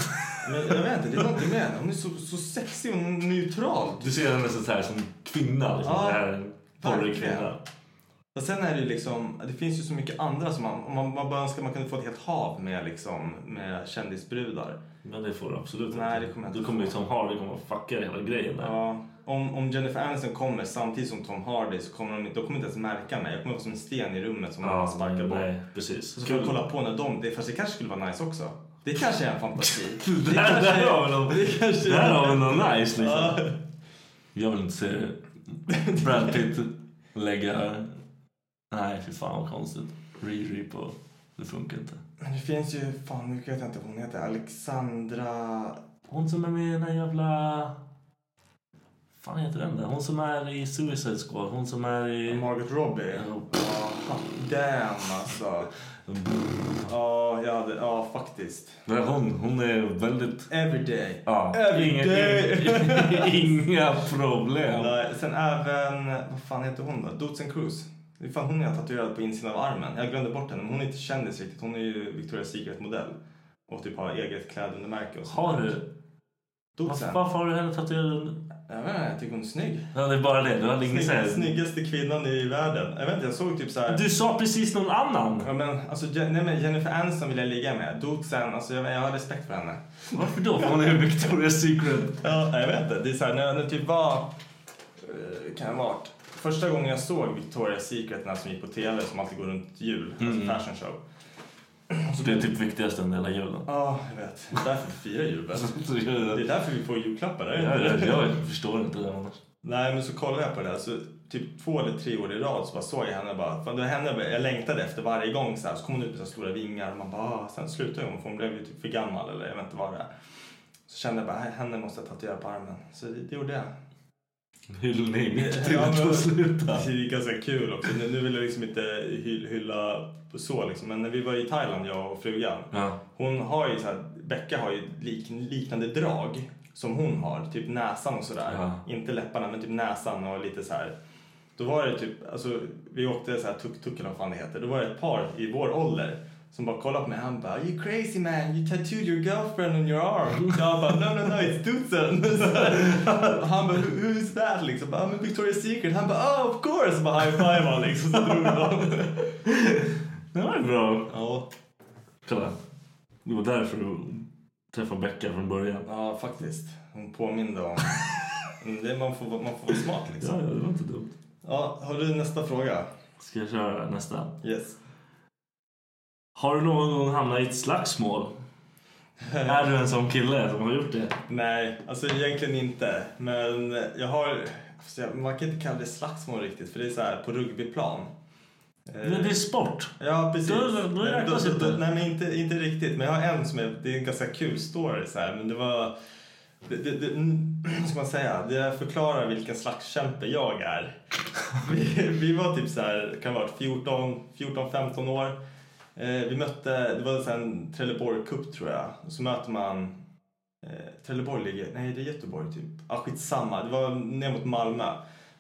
[SPEAKER 5] Men jag vet inte, det är någonting med henne. Hon är så, så sexig och neutral.
[SPEAKER 2] Du ser henne så här som kvinna. Liksom.
[SPEAKER 5] Ja,
[SPEAKER 2] det här är en porrig
[SPEAKER 5] verkligen.
[SPEAKER 2] kvinna.
[SPEAKER 5] Och sen är det ju liksom, det finns ju så mycket andra som man, om man, man bara önskar man kunde få ett helt hav med liksom, med kändisbrudar.
[SPEAKER 2] Men det får du absolut
[SPEAKER 5] Nej,
[SPEAKER 2] inte.
[SPEAKER 5] det kommer jag inte
[SPEAKER 2] du kommer ju
[SPEAKER 5] få.
[SPEAKER 2] som Hardy kommer att fucka hela grejen där.
[SPEAKER 5] Ja, om, om Jennifer Aniston kommer samtidigt som Tom Hardy så kommer de, de kommer inte ens märka mig. Jag kommer vara som en sten i rummet som man sparkar bort.
[SPEAKER 2] Nej, precis.
[SPEAKER 5] Så får jag kolla på när de... Det, fast det kanske skulle vara nice också. Det kanske är en fantasi.
[SPEAKER 2] (laughs) Det där, där har vi någon,
[SPEAKER 5] det kanske-
[SPEAKER 2] där har vi någon nice liksom.
[SPEAKER 5] Ja.
[SPEAKER 2] Jag vill inte se Brad Pitt lägga... Nej, fy fan vad konstigt. Riri på... Det funkar inte.
[SPEAKER 5] Men det finns ju... Fan, nu vet jag inte vad hon heter. Alexandra...
[SPEAKER 2] Hon som är med i den här jävla... fan heter den där? Hon som är i Suicide Squad. Hon som är i...
[SPEAKER 5] Margot Robbie. Fan, Damn, alltså.
[SPEAKER 2] Mm.
[SPEAKER 5] Ja, jag hade... Ja, faktiskt.
[SPEAKER 2] Nej, hon, hon är väldigt...
[SPEAKER 5] Everyday.
[SPEAKER 2] Ja, inga, (laughs) inga problem.
[SPEAKER 5] Nej, Sen även... Vad fan heter hon då? Dotsen Cruz. Det är fan hon jag har tatuerat på insidan av armen. Jag glömde bort henne, men hon är inte kändis riktigt. Hon är ju Victoria's Secret-modell. Och typ har eget klädundermärke och så.
[SPEAKER 2] Har du? Varför,
[SPEAKER 5] Dotsen.
[SPEAKER 2] varför har du henne tatuerad?
[SPEAKER 5] Jag vet inte, jag tycker hon är snygg.
[SPEAKER 2] Ja, det är bara det. Du hade ingen så här-
[SPEAKER 5] Snygg, snyggaste kvinnan i världen. Jag vet inte, jag såg typ så här...
[SPEAKER 2] Du sa precis någon annan.
[SPEAKER 5] Ja, men, alltså, Je- nej, men Jennifer Aniston vill jag ligga med. Dotsen, alltså, jag, jag har respekt för henne.
[SPEAKER 2] Varför då? För hon är Victoria's Secret.
[SPEAKER 5] Ja, jag vet inte. Det är så här, när jag när jag typ var... eh, Kan jag ha varit? Första gången jag såg Victoria's Secret, den här som gick på tv som alltid går runt jul,
[SPEAKER 2] Mm.
[SPEAKER 5] alltså fashion show.
[SPEAKER 2] Så det är typ viktigast under hela julen.
[SPEAKER 5] Ja, jag vet. Det är därför vi firar jul. väl?
[SPEAKER 2] Alltså,
[SPEAKER 5] Det är därför vi får julklappar, är det inte
[SPEAKER 2] Jag,
[SPEAKER 5] det?
[SPEAKER 2] jag, jag förstår inte det annars.
[SPEAKER 5] Nej, men så kollade jag på det här. Så typ två eller tre år i rad så bara såg jag henne. och Bara, fan, det var henne jag bara- jag längtade efter varje gång. Så, här, så kom hon ut med så här stora vingar. Och man bara, ah, sen slutade hon för hon blev ju typ för gammal eller jag vet inte vad det är. Så kände jag bara, "Nej, henne måste jag tatuera på armen. Så det, det gjorde jag.
[SPEAKER 2] Hyllning till
[SPEAKER 5] Ja,
[SPEAKER 2] att
[SPEAKER 5] men-
[SPEAKER 2] få sluta.
[SPEAKER 5] Det är ganska kul också. Nu, nu vill jag liksom inte hy- hylla så liksom. Men när vi var i Thailand, jag och frugan.
[SPEAKER 2] Ja.
[SPEAKER 5] Hon har ju så här, Becka har ju lik, liknande drag som hon har. Typ näsan och sådär.
[SPEAKER 2] Ja.
[SPEAKER 5] Inte läpparna men typ näsan och lite så här. Då var det typ, alltså vi åkte så här tuk-tuk eller vad fan det heter. Då var det ett par i vår ålder Som bara kollar på mig han bara You crazy man, you tattooed your girlfriend on your arm. Jag bara no no no it's Tutsen. (laughs) han bara "Who- who's that liksom? Bara, men Victoria's Secret. Han bara oh of course. Bara high five han liksom. Så drog han.
[SPEAKER 2] Det var ju bra.
[SPEAKER 5] (laughs) Ja,
[SPEAKER 2] Kolla. Det var därför du träffade Becka från början.
[SPEAKER 5] ja faktiskt. Hon påminde om. Mm, Det, man, får, vara- man får vara smart
[SPEAKER 2] Ja,
[SPEAKER 5] liksom.
[SPEAKER 2] ja, det var inte dumt.
[SPEAKER 5] Ja, har du nästa fråga?
[SPEAKER 2] Ska jag köra nästa?
[SPEAKER 5] Yes.
[SPEAKER 2] Har du någon gång hamnat i ett slagsmål? är du en sån kille som har gjort det?
[SPEAKER 5] Nej, alltså egentligen inte. Men jag har... Alltså jag, man kan inte kalla det slagsmål riktigt för det är så här på rugbyplan.
[SPEAKER 2] Det det är sport.
[SPEAKER 5] Ja, precis.
[SPEAKER 2] Då- då- då
[SPEAKER 5] Men
[SPEAKER 2] räknas inte.
[SPEAKER 5] Nej, men inte, inte riktigt. Men jag har en som är... Det är en ganska kul story så här. Men det var... Det, det, det, vad (clears throat) ska man säga? Det förklarar vilken slags kämpe jag är. (laughs) Vi, vi var typ så här, kan ha varit 14, 14, 15 år. Eh, vi mötte, det var så här en Trelleborg Cup tror jag. Och så möter man Eh, Trelleborg ligger... Nej, det är Göteborg typ. Ah, skitsamma. Det var ner mot Malmö.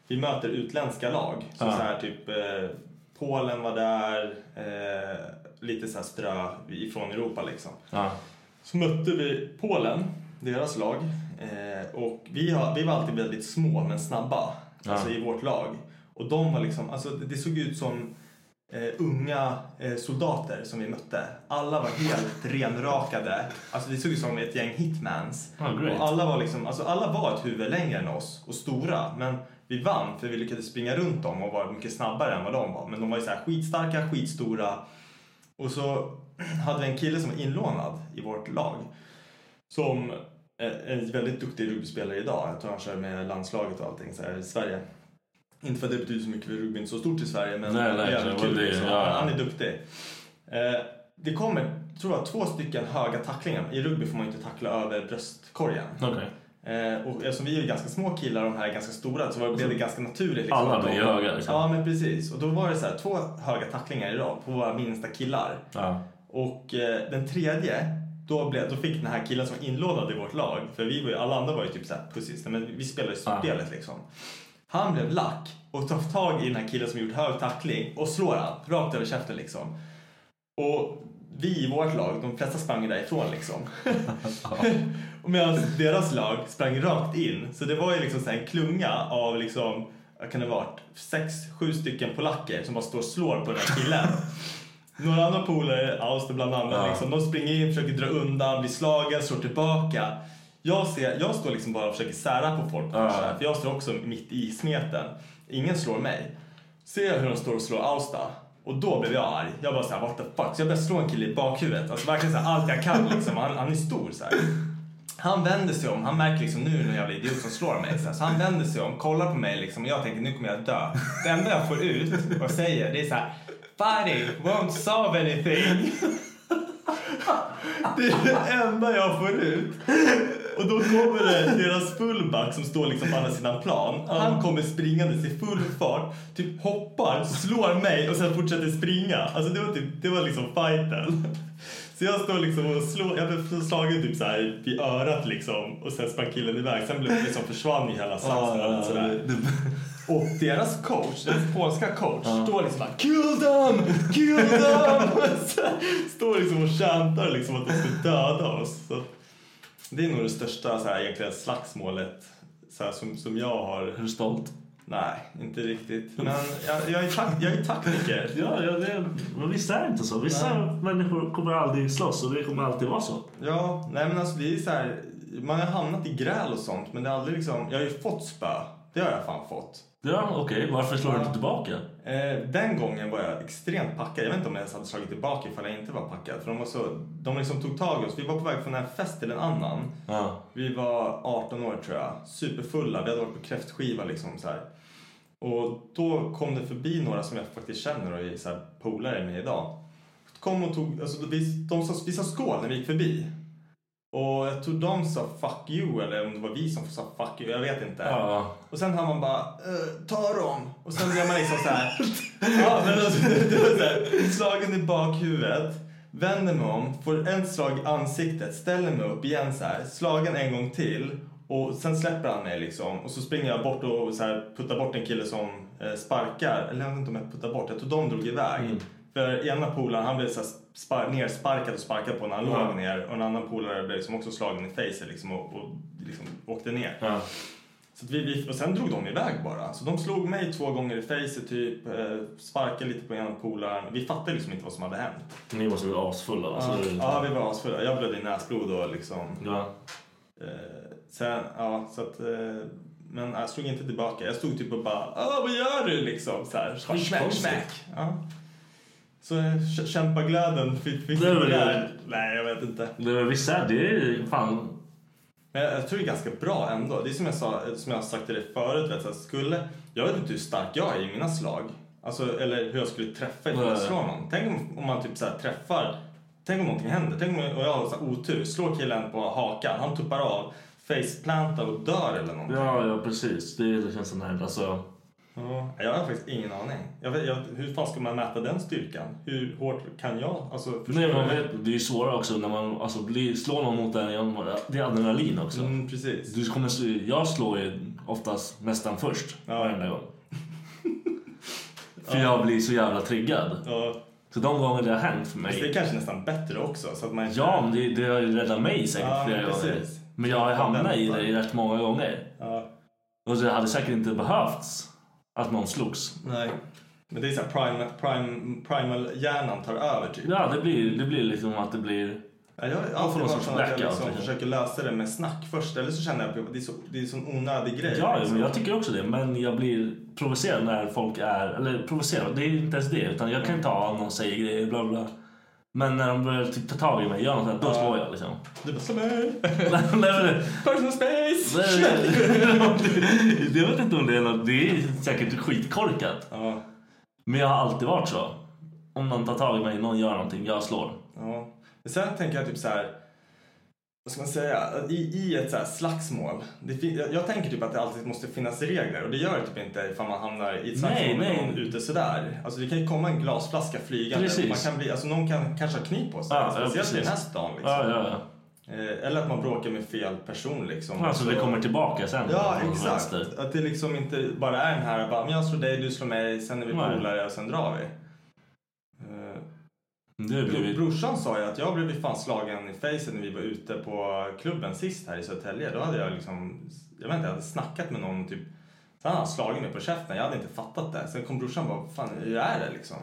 [SPEAKER 5] Vi möter utländska lag. Så, så här, typ eh, Polen var där. Eh, lite så här strö ifrån Europa liksom.
[SPEAKER 2] Ja.
[SPEAKER 5] Så mötte vi Polen, deras lag. Eh, och vi, har, vi var alltid väldigt små men snabba. Alltså i vårt lag. Och de var liksom... Alltså det det såg ut som eh, unga eh, soldater som vi mötte. Alla var helt renrakade. Alltså det såg ut som ett gäng hitmans.
[SPEAKER 2] Ah, great.
[SPEAKER 5] och alla var liksom, alltså alla var ett huvud längre än oss och stora. Men vi vann för vi lyckades springa runt dem och var mycket snabbare än vad de var. Men de var ju så här skitstarka, skitstora. Och så hade vi en kille som var inlånad i vårt lag. Som är en väldigt duktig rugbyspelare idag. Jag tror han kör med landslaget och allting så här i Sverige. Inte för att det betyder så mycket för rugby är inte så stort i Sverige men
[SPEAKER 2] Nej, nej,
[SPEAKER 5] det är jävligt
[SPEAKER 2] det var
[SPEAKER 5] kul.
[SPEAKER 2] det,
[SPEAKER 5] liksom.
[SPEAKER 2] ja.
[SPEAKER 5] Han är duktig. Eh, det kommer, tror jag, två stycken höga tacklingar. I rugby får man ju inte tackla över bröstkorgen.
[SPEAKER 2] Okej.
[SPEAKER 5] Eh, och eftersom vi är ju ganska små killar och de här är ganska stora så var- blev det ganska naturligt. Liksom,
[SPEAKER 2] Alltså, alla
[SPEAKER 5] att de-
[SPEAKER 2] blir höga, liksom.
[SPEAKER 5] Ja men precis. Och då var det så här, två höga tacklingar idag på våra minsta killar.
[SPEAKER 2] Ja.
[SPEAKER 5] Och eh, den tredje, då, blev, då fick den här killen som var inlånad i vårt lag, för vi var ju, alla andra var ju typ såhär pussis, men vi spelade ju slutspelet liksom. Han blev lack och tar tag i den här killen som gjort hög tackling och slår han rakt över käften liksom. Och vi i vårt lag, de flesta sprang ju därifrån liksom. (laughs) Och Medan deras lag sprang rakt in. Så det var ju liksom så här en klunga av liksom, vad kan det ha varit, sex, sju stycken polacker som bara står och slår på den här killen. Några andra polare, Auster bland annat, liksom, de springer in, försöker dra undan, blir slagen, slår tillbaka. Jag, ser, jag står liksom bara och försöker sära på folk, så här, för jag står också mitt i smeten. Ingen slår mig. Ser jag hur de står och slår Austa och då blev jag arg. Jag bara såhär, what the fuck. Så jag började slå en kille i bakhuvudet. Alltså verkligen såhär allt jag kan liksom. Han, han är stor såhär. Han vänder sig om, han märker liksom nu är det någon jävla idiot som slår mig. Så, här, så han vänder sig om, kollar på mig liksom och jag tänker nu kommer jag dö. Det enda jag får ut och säger det är så här: fighting won't solve anything. (laughs) Det är det enda jag får ut. Och då kommer det deras fullback som står liksom på andra sidan plan. Han kommer springandes i full fart, typ hoppar, slår mig och sen fortsätter springa. Alltså det var, typ, det var liksom fighten. Så jag står liksom och slår, jag blev slagen typ så här i örat liksom och sen sprang killen iväg. Sen blev liksom försvann ju hela slagsmålet sådär. Och deras coach, deras polska coach, står liksom bara Kill them! Kill them! (laughs) Så här, står liksom och tjantar liksom att de ska döda oss. Så att det är nog det största så här, egentligen slagsmålet så här, som, som jag har.
[SPEAKER 2] Är du stolt?
[SPEAKER 5] Nej, inte riktigt. Men jag, jag, är, tak- jag är taktiker.
[SPEAKER 2] Ja, ja det, men vissa är inte så. Vissa människor kommer aldrig slåss och det kommer alltid vara så.
[SPEAKER 5] Ja, nej men alltså det är så här, man har hamnat i gräl och sånt men det är aldrig liksom, jag har ju fått spö. Det har jag fan fått.
[SPEAKER 2] Ja, okej. Varför slår du inte tillbaka?
[SPEAKER 5] Eh, den gången var jag extremt packad. Jag vet inte om jag ens hade slagit tillbaka ifall jag inte var packad. För de, var så, de liksom tog tag i oss. Vi var på väg från en fest till en annan.
[SPEAKER 2] Ja.
[SPEAKER 5] Vi var 18 år tror jag. Superfulla. Vi hade varit på kräftskiva liksom så här. Och då kom det förbi några som jag faktiskt känner och är så här polare med idag. Kom och tog, alltså vi, de sa, vi sa skål när vi gick förbi. Och jag tror de sa fuck you eller om det var vi som sa fuck you, jag vet inte.
[SPEAKER 2] Ja.
[SPEAKER 5] Och sen har man bara, eh, ta dem. Och sen blir man liksom så här. ja, men alltså, (laughs) det var så här, slagen i bakhuvudet. Vänder mig om, får en slag i ansiktet, ställer mig upp igen så här. Slagen en gång till. Och sen släpper han mig liksom. Och så springer jag bort och så här, puttar bort en kille som eh, sparkar. Eller jag vet inte om jag puttar bort, jag tror de drog iväg. För ena polaren han blev så här spar- nersparkad och sparkad på när han
[SPEAKER 2] Ja.
[SPEAKER 5] låg ner och en annan polare blev liksom också slagen i facet liksom och, och liksom åkte ner.
[SPEAKER 2] Ja.
[SPEAKER 5] Så att vi, vi, och sen drog de iväg bara. Så de slog mig två gånger i facet typ, eh, sparkade lite på ena polaren. Vi fattade liksom inte vad som hade hänt.
[SPEAKER 2] Ni måste bli asfulla. Alltså, det-
[SPEAKER 5] Ja, vi var asfulla. Jag blödde i näsblod och liksom
[SPEAKER 2] ja.
[SPEAKER 5] Eh, sen, ja, så att, eh, men jag slog inte tillbaka. Jag stod typ och bara "Ah, vad gör du liksom? Så här, smack, smack,
[SPEAKER 2] Skitkonstigt.
[SPEAKER 5] smack. Ja. Så eh, kä- kämpaglöden fick, fick
[SPEAKER 2] Det är väl
[SPEAKER 5] där. Nej, jag vet inte.
[SPEAKER 2] Det, vissa, det är fan...
[SPEAKER 5] Men jag, jag tror det är ganska bra ändå. Det är som jag, sa, som jag har sagt till dig förut. Vet, du, att skulle, jag vet inte hur stark jag är i mina slag. Alltså, eller hur jag skulle träffa ifall jag
[SPEAKER 2] Nej.
[SPEAKER 5] slår någon. Tänk om, om man typ så här träffar. Tänk om någonting händer. Tänk om jag, och jag har så här otur. Slår killen på hakan. Han tuppar av. Faceplantar och dör eller någonting.
[SPEAKER 2] Ja, ja precis. Det är liksom sån här... Alltså,
[SPEAKER 5] Ja, jag har faktiskt ingen aning. Jag vet, jag, hur fan ska man mäta den styrkan? Hur hårt kan jag? Alltså, förstår
[SPEAKER 2] nej, men man
[SPEAKER 5] du?
[SPEAKER 2] vet, det är ju svårare också när man alltså, blir, slår någon mot en. igen. Det är adrenalin också.
[SPEAKER 5] Mm, precis.
[SPEAKER 2] Du kommer, se- jag slår ju oftast nästan först
[SPEAKER 5] Ja.
[SPEAKER 2] varenda gång. För jag blir så jävla triggad.
[SPEAKER 5] Ja,
[SPEAKER 2] Så de gånger det har hänt för
[SPEAKER 5] fast det är
[SPEAKER 2] mig.
[SPEAKER 5] kanske nästan bättre också. Så att man inte-
[SPEAKER 2] Ja, men det, det har ju räddat mig säkert
[SPEAKER 5] Ja,
[SPEAKER 2] flera
[SPEAKER 5] precis.
[SPEAKER 2] gånger. Men jag har ju hamnat i det rätt många gånger.
[SPEAKER 5] ja.
[SPEAKER 2] Och det hade säkert inte behövts att någon slogs.
[SPEAKER 5] Nej. Men det är så här prime, prime, primal-hjärnan tar över typ.
[SPEAKER 2] Ja, det blir, det blir liksom att det blir...
[SPEAKER 5] Ja, jag har
[SPEAKER 2] får
[SPEAKER 5] alltid
[SPEAKER 2] någon
[SPEAKER 5] varit
[SPEAKER 2] sorts
[SPEAKER 5] sån att jag
[SPEAKER 2] blackout,
[SPEAKER 5] liksom
[SPEAKER 2] liksom.
[SPEAKER 5] försöker lösa det med snack först. Eller så känner jag att det är så, det är sån onödig grej.
[SPEAKER 2] Ja,
[SPEAKER 5] liksom.
[SPEAKER 2] men jag tycker också det. Men jag blir provocerad när folk är... Eller provocerad, det är inte ens det. Utan jag kan
[SPEAKER 5] Mm.
[SPEAKER 2] ta om någon säger grejer, bla bla. Men när de börjar typ ta tag i mig, gör något sånt, då slår jag liksom. (laughs)
[SPEAKER 5] Du bara slå mig! (laughs)
[SPEAKER 2] Nej, men det-
[SPEAKER 5] Personal space!
[SPEAKER 2] det- det- Jag vet inte om det är något. Det är säkert skitkorkat.
[SPEAKER 5] Ja,
[SPEAKER 2] Men jag har alltid varit så. Om någon tar tag i mig, någon gör någonting, jag slår.
[SPEAKER 5] Ja. Men Sen tänker jag typ så här. Vad ska man säga? I, i ett så här slagsmål. Det fin- jag, jag tänker typ att det alltid måste finnas regler och det gör det typ inte ifall man hamnar i ett slagsmål
[SPEAKER 2] Nej,
[SPEAKER 5] med
[SPEAKER 2] nej.
[SPEAKER 5] någon ute sådär. Alltså det kan ju komma en glasflaska flygande.
[SPEAKER 2] Precis.
[SPEAKER 5] Man kan bli, alltså någon kan kanske ha kniv på sig. alltså,
[SPEAKER 2] Ja, ja,
[SPEAKER 5] speciellt i den här
[SPEAKER 2] precis.
[SPEAKER 5] stan. Liksom.
[SPEAKER 2] Ja, ja, ja.
[SPEAKER 5] Eh, eller att man bråkar med fel person liksom.
[SPEAKER 2] Alltså det
[SPEAKER 5] Så-
[SPEAKER 2] kommer tillbaka sen.
[SPEAKER 5] Ja,
[SPEAKER 2] från
[SPEAKER 5] exakt.
[SPEAKER 2] vänster.
[SPEAKER 5] Att det liksom inte bara är den här bara, men jag slår dig, du slår mig, sen är vi
[SPEAKER 2] Nej.
[SPEAKER 5] polare och sen drar vi. Eh,
[SPEAKER 2] Det har
[SPEAKER 5] Bro-
[SPEAKER 2] blivit...
[SPEAKER 5] Brorsan sa ju att jag blev fan slagen i facet när vi var ute på klubben sist här i Södertälje. Då hade jag liksom, jag vet inte, jag hade snackat med någon typ. Sen hade han slagit mig på käften, jag hade inte fattat det. Sen kom brorsan och bara, "Vad fan hur är det liksom?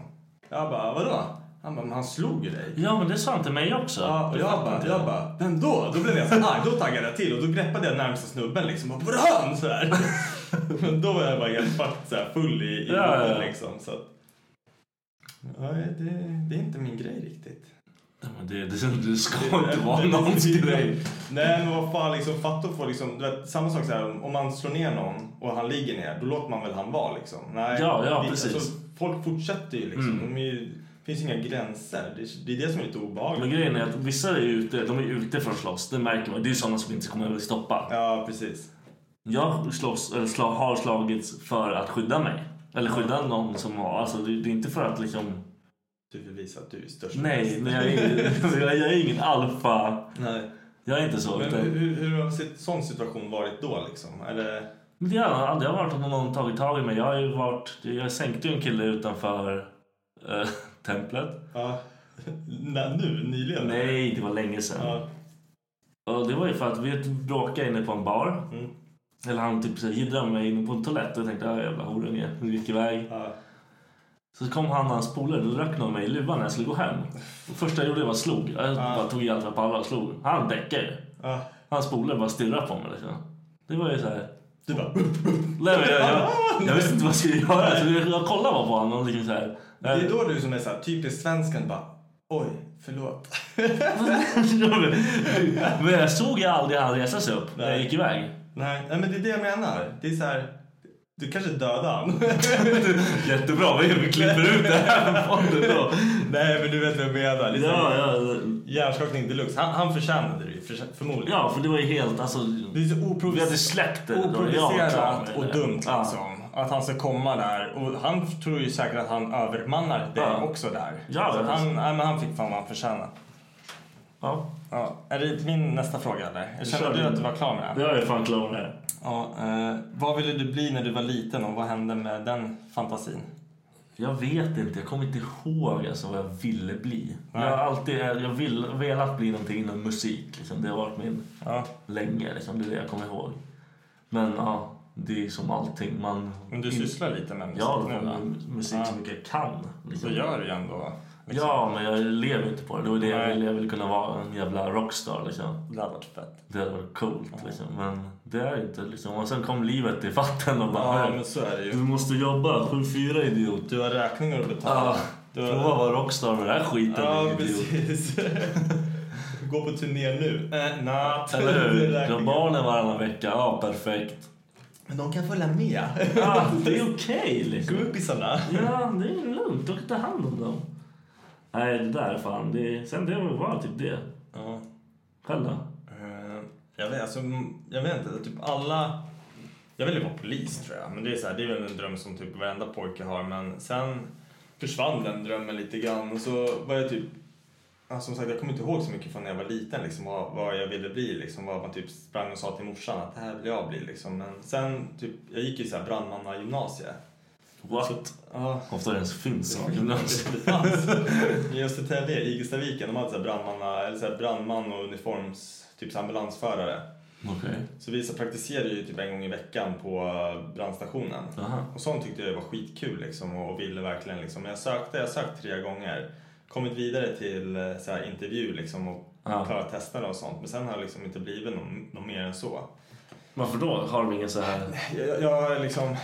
[SPEAKER 5] Jag bara, vadå? Han bara, men han slog ju dig.
[SPEAKER 2] Ja, men det sa han till mig också.
[SPEAKER 5] Ja, och
[SPEAKER 2] Det
[SPEAKER 5] jag
[SPEAKER 2] fattar
[SPEAKER 5] bara,
[SPEAKER 2] inte
[SPEAKER 5] jag bara, vem då? Då blev jag så arg, då taggade jag till och då greppade jag närmsta snubben liksom. Bara, Brön! Sådär. (laughs) Men då var jag bara helt fucked såhär, full i, i
[SPEAKER 2] Ja,
[SPEAKER 5] huvudet,
[SPEAKER 2] ja, ja.
[SPEAKER 5] liksom. Så att, ja, det, det är inte min grej riktigt.
[SPEAKER 2] Ja, men det, det, det ska inte vara
[SPEAKER 5] Nej,
[SPEAKER 2] någons
[SPEAKER 5] precis.
[SPEAKER 2] grej.
[SPEAKER 5] Nej men vad fan liksom, fatta att få liksom, du vet samma sak så här, om- om man slår ner någon och han ligger ner, då låter man väl han vara liksom. Nej,
[SPEAKER 2] Ja, ja,
[SPEAKER 5] det-
[SPEAKER 2] precis. Mm.
[SPEAKER 5] folk fortsätter ju liksom, de är ju, det finns inga gränser. Det, är- det är det som är lite
[SPEAKER 2] Men
[SPEAKER 5] obehagligt.
[SPEAKER 2] grejen är att vissa är ute, de är ute för att slåss, det märker man. Det är sådana som inte kommer att bli stoppa.
[SPEAKER 5] Ja precis.
[SPEAKER 2] Jag slåss, eller sla, har slagits för att skydda mig. Eller skydda någon som har... Alltså det, det är inte för att liksom...
[SPEAKER 5] Du vill visa att du är störst.
[SPEAKER 2] Nej, men jag är ingen, (laughs) jag är ingen alfa.
[SPEAKER 5] (laughs) Nej.
[SPEAKER 2] Jag är inte så.
[SPEAKER 5] Men
[SPEAKER 2] utan,
[SPEAKER 5] hur, hur, hur har en sit- sån situation varit då liksom? Eller,
[SPEAKER 2] men det har aldrig varit att någon tagit tag i mig. Jag har ju varit... Jag sänkte ju en kille utanför eh, (laughs) templet.
[SPEAKER 5] ja, nä, nu, nyligen?
[SPEAKER 2] Nej, det var länge sedan.
[SPEAKER 5] Ja,
[SPEAKER 2] Och det var ju för att vi bråkade inne på en bar.
[SPEAKER 5] Mm.
[SPEAKER 2] Eller han typ så här jiddrade med mig inne på en toalett och jag tänkte "Ah, jävla horunge. Hon gick iväg.
[SPEAKER 5] ja.
[SPEAKER 2] Så kom han och hans polare och röck någon mig i luvan när jag skulle gå hem. Det första jag gjorde var slog. Jag bara tog i allt vad jag pallade och slog. Han däckade ju.
[SPEAKER 5] Ja.
[SPEAKER 2] Hans polare bara stirrade på mig liksom. Det var ju så här.
[SPEAKER 5] Du bara...
[SPEAKER 2] Nej, men jag, jag, jag visste inte vad jag skulle göra. Så jag kollade bara på honom och liksom så här.
[SPEAKER 5] Det är då du som är så här, typiskt svensken bara Oj, förlåt.
[SPEAKER 2] (laughs) men jag såg ju aldrig han resa sig upp när jag gick iväg.
[SPEAKER 5] Nej, nej men det är det jag menar. Det är så här, du kanske dödade han.
[SPEAKER 2] (laughs) Jättebra, vi klipper ut det här podden då.
[SPEAKER 5] nej, men du vet vad jag menar. Liksom,
[SPEAKER 2] (laughs) Ja, ja,
[SPEAKER 5] Hjärnskakning deluxe. Han, han förtjänade det ju, för, förmodligen.
[SPEAKER 2] ja, för det var ju helt alltså...
[SPEAKER 5] Det är
[SPEAKER 2] Vi
[SPEAKER 5] så
[SPEAKER 2] hade
[SPEAKER 5] oprovocerat.
[SPEAKER 2] släppt det. då. Jag klarar mig
[SPEAKER 5] Oprovocerat
[SPEAKER 2] det.
[SPEAKER 5] och dumt
[SPEAKER 2] Ja.
[SPEAKER 5] liksom. Att han ska komma där. Och han tror ju säkert att han övermannar dig
[SPEAKER 2] Ja.
[SPEAKER 5] också där.
[SPEAKER 2] Ja,
[SPEAKER 5] så
[SPEAKER 2] det-
[SPEAKER 5] han, nej, men han fick fan vad han förtjänade.
[SPEAKER 2] Ja.
[SPEAKER 5] Ja. Är det min nästa fråga eller? Jag
[SPEAKER 2] Kör
[SPEAKER 5] känner du
[SPEAKER 2] din.
[SPEAKER 5] att du var klar med den?
[SPEAKER 2] Jag är fan klar med det.
[SPEAKER 5] Ja, eh, vad ville du bli när du var liten och vad hände med den fantasin?
[SPEAKER 2] För Jag vet inte, jag kommer inte ihåg alltså vad jag ville bli. Jag har alltid jag vill, velat bli någonting inom musik. Liksom. Det har varit min
[SPEAKER 5] Ja.
[SPEAKER 2] länge, liksom. det är det jag kommer ihåg. Men ja, det är som allting. Man,
[SPEAKER 5] Men du sysslar lite med musik
[SPEAKER 2] jag
[SPEAKER 5] nu va?
[SPEAKER 2] med musik så
[SPEAKER 5] Ja.
[SPEAKER 2] mycket jag kan.
[SPEAKER 5] Så
[SPEAKER 2] Liksom.
[SPEAKER 5] gör du ju ändå. liksom.
[SPEAKER 2] Ja, men jag lever inte på det. Det var det jag
[SPEAKER 5] Nej.
[SPEAKER 2] ville. Jag ville kunna vara en jävla rockstar. Liksom.
[SPEAKER 5] Det hade varit fett.
[SPEAKER 2] Det hade varit coolt. Liksom. Men det är inte. Liksom. Och sen kom livet i fatten och bara...
[SPEAKER 5] Ja,
[SPEAKER 2] "Hej,
[SPEAKER 5] men så är det
[SPEAKER 2] Du
[SPEAKER 5] ju.
[SPEAKER 2] måste jobba 7-4 idiot.
[SPEAKER 5] Du har räkningar att betala.
[SPEAKER 2] Ja,
[SPEAKER 5] Du har-
[SPEAKER 2] prova att vara rockstar med den här skiten.
[SPEAKER 5] Ja,
[SPEAKER 2] din idiot.
[SPEAKER 5] precis. Gå på turné nu. Eh, natt.
[SPEAKER 2] Eller
[SPEAKER 5] Det
[SPEAKER 2] hur?
[SPEAKER 5] räknar
[SPEAKER 2] Du har barnen varannan vecka. Ja, perfekt.
[SPEAKER 5] Men de kan följa med.
[SPEAKER 2] Ja, det är okej liksom.
[SPEAKER 5] Gubisarna.
[SPEAKER 2] Ja, det är lugnt. Du kan ta hand om dem. Nej, det där är fan. Det är... Sen det var bara typ det.
[SPEAKER 5] Ja.
[SPEAKER 2] Själv då?
[SPEAKER 5] Eh, Jag vet, alltså, mm, jag vet inte, typ alla... Jag ville vara polis tror jag, men det är, så här, det är väl en dröm som typ varenda pojke har. Men sen försvann den drömmen lite grann och så var jag typ... Ja, som sagt, jag kommer inte ihåg så mycket från när jag var liten liksom, vad, vad jag ville bli. Liksom, vad man typ sprang och sa till morsan att det här vill jag bli. Liksom. Men sen, typ, jag gick ju så här brandmannagymnasiet.
[SPEAKER 2] What?
[SPEAKER 5] Ja, (laughs)
[SPEAKER 2] Ofta det ens finns saker. (laughs)
[SPEAKER 5] det fanns. I Östertälje, i Gustaviken, de hade så här brandmanna, eller så här brandman och uniforms, typ så här ambulansförare.
[SPEAKER 2] Okej.
[SPEAKER 5] Så vi så praktiserade ju typ en gång i veckan på eh, brandstationen.
[SPEAKER 2] Aha.
[SPEAKER 5] Och sånt tyckte jag var skitkul liksom och ville verkligen liksom. Men jag sökte, jag sökte tre gånger. Kommit vidare till eh, så här, intervju liksom och
[SPEAKER 2] Ja.
[SPEAKER 5] klarat testerna och sånt. Men sen har jag liksom inte blivit någon, någon mer än så.
[SPEAKER 2] Varför då? Har de ingen så här...
[SPEAKER 5] Jag, jag, liksom,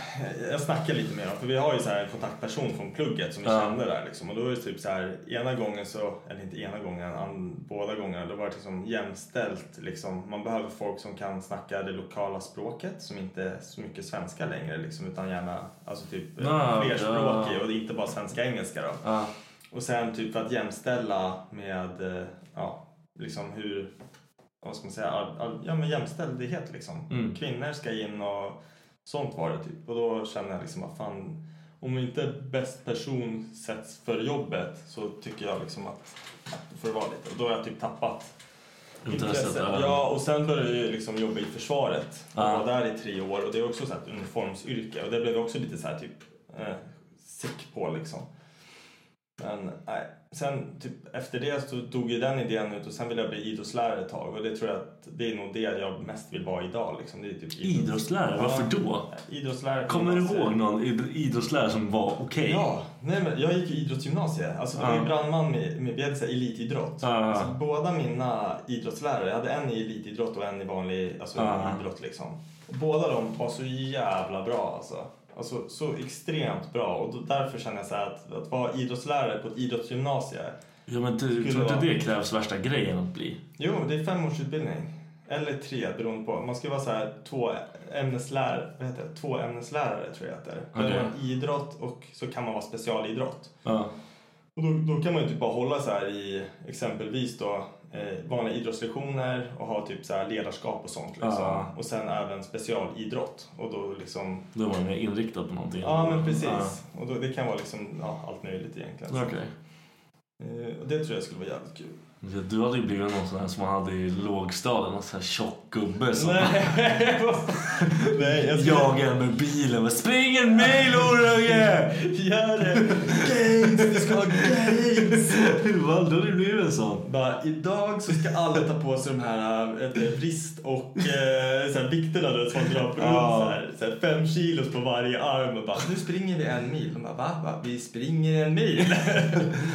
[SPEAKER 5] jag snackar lite med dem för vi har ju så här en kontaktperson från plugget som vi
[SPEAKER 2] Ja.
[SPEAKER 5] kände där liksom. Och då är det typ så här ena gången så, eller inte ena gången, an, båda gångerna då var det liksom jämställt liksom. Man behöver folk som kan snacka det lokala språket som inte är så mycket svenska längre liksom utan gärna alltså typ
[SPEAKER 2] Ja,
[SPEAKER 5] eh, flerspråkig
[SPEAKER 2] ja.
[SPEAKER 5] och inte bara svenska-engelska då.
[SPEAKER 2] Ja.
[SPEAKER 5] Och sen typ för att jämställa med, eh, ja, liksom hur, vad ska man säga, all, all, ja men jämställdhet liksom.
[SPEAKER 2] Mm.
[SPEAKER 5] Kvinnor ska in och sånt var det typ. Och då känner jag liksom att fan, om inte bäst person sätts för jobbet så tycker jag liksom att, att då får det vara lite. Och då har jag typ tappat
[SPEAKER 2] Intresset,
[SPEAKER 5] intresset.
[SPEAKER 2] ja. Ah.
[SPEAKER 5] Ja, och sen började jag ju liksom jobba i försvaret. Jag
[SPEAKER 2] Ja.
[SPEAKER 5] var där i tre år och det är också så här ett uniformsyrke och det blev jag också lite så här typ eh, sick på liksom. Men nej, sen typ efter det så dog ju den idén ut och sen ville jag bli idrottslärare ett tag och det tror jag att det är nog det jag mest vill vara idag liksom. Det är typ
[SPEAKER 2] Idrottslärare? Varför då?
[SPEAKER 5] Idrottslärare. på
[SPEAKER 2] Kommer du
[SPEAKER 5] gymnasiet.
[SPEAKER 2] ihåg någon id- idrottslärare som var okej?
[SPEAKER 5] Ja, nej men jag gick ju idrottsgymnasiet. Alltså det var
[SPEAKER 2] Ja.
[SPEAKER 5] ju brandman med, med vi hade så här elitidrott.
[SPEAKER 2] Ja.
[SPEAKER 5] Alltså, båda mina idrottslärare, jag hade en i elitidrott och en i vanlig alltså,
[SPEAKER 2] Ja.
[SPEAKER 5] idrott liksom. Och båda de var så jävla bra alltså. Alltså så extremt bra och då, därför känner jag så här att, att vara idrottslärare på ett idrottsgymnasium.
[SPEAKER 2] Ja, men du,
[SPEAKER 5] Skulle
[SPEAKER 2] tror inte
[SPEAKER 5] vara-
[SPEAKER 2] det krävs värsta grejen att bli?
[SPEAKER 5] Jo, det är fem års utbildning. Eller tre beroende på. Man ska vara så här två ämneslärare, vad heter det? Två ämneslärare tror jag heter. Då
[SPEAKER 2] Okej.
[SPEAKER 5] är man idrott och så kan man vara specialidrott.
[SPEAKER 2] Ja.
[SPEAKER 5] Och då, då kan man ju typ bara hålla så här i exempelvis då eh, vanliga idrottslektioner och ha typ så här ledarskap och sånt liksom.
[SPEAKER 2] Ja.
[SPEAKER 5] Och sen även specialidrott. Och då liksom,
[SPEAKER 2] Då var man mer inriktad på någonting.
[SPEAKER 5] ja men precis. Och då, det kan vara liksom ja, allt möjligt egentligen.
[SPEAKER 2] Ja.
[SPEAKER 5] Så,
[SPEAKER 2] Okej.
[SPEAKER 5] eh, och det tror jag skulle vara jävligt kul.
[SPEAKER 2] Du hade ju blivit någon sån här som man hade i lågstadiet, någon sån här tjock gubbe som
[SPEAKER 5] (laughs) Nej, vad fan. Nej, jag skulle...
[SPEAKER 2] jagar med bilen. Bara, Spring en mil (laughs) orunge!
[SPEAKER 5] Gör det! eh, Games! Vi ska ha games!
[SPEAKER 2] Hur hade du blivit en sån?
[SPEAKER 5] Bara, idag så ska alla ta på sig de här äh, vrist och äh, så här, vikterna då, som man drar runt.
[SPEAKER 2] Ja.
[SPEAKER 5] Så här, så här, fem kilos på varje arm. Och bara, nu springer vi en mil. De bara, va? va? Vi springer en mil.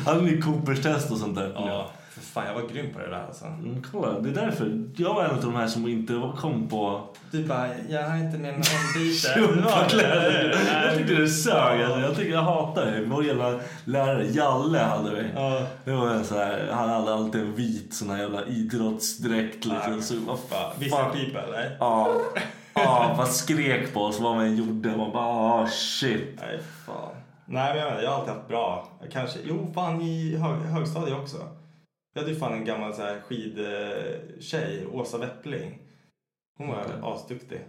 [SPEAKER 2] Hade ni Coopers-test och sånt där?
[SPEAKER 5] ja, för fan jag var grym på det där alltså.
[SPEAKER 2] Mm, kolla, det är därför. Jag var en av de här som inte var- kom på
[SPEAKER 5] Du bara, jag har inte med mig
[SPEAKER 2] (laughs) Chumpakläder. Jag
[SPEAKER 5] ombyte.
[SPEAKER 2] tyckte det sög. Alltså. Jag, tyckte, jag hatar det. Vår jävla lärare, Jalle, hade vi.
[SPEAKER 5] Ja.
[SPEAKER 2] Det var en så här, han hade alltid en vit sån här jävla idrottsdräkt. Liksom. Så, vad fan.
[SPEAKER 5] Vissa pipa eller?
[SPEAKER 2] Ja. Ja, vad skrek på oss vad man än gjorde. Man bara, ah shit.
[SPEAKER 5] Nej, fan. Nej, men jag, vet, jag har alltid haft bra. Jag Kanske, jo, fan i hög, högstadiet också. Jag hade ju fan en gammal så här, skidtjej, Åsa Weppling. Hon var asduktig.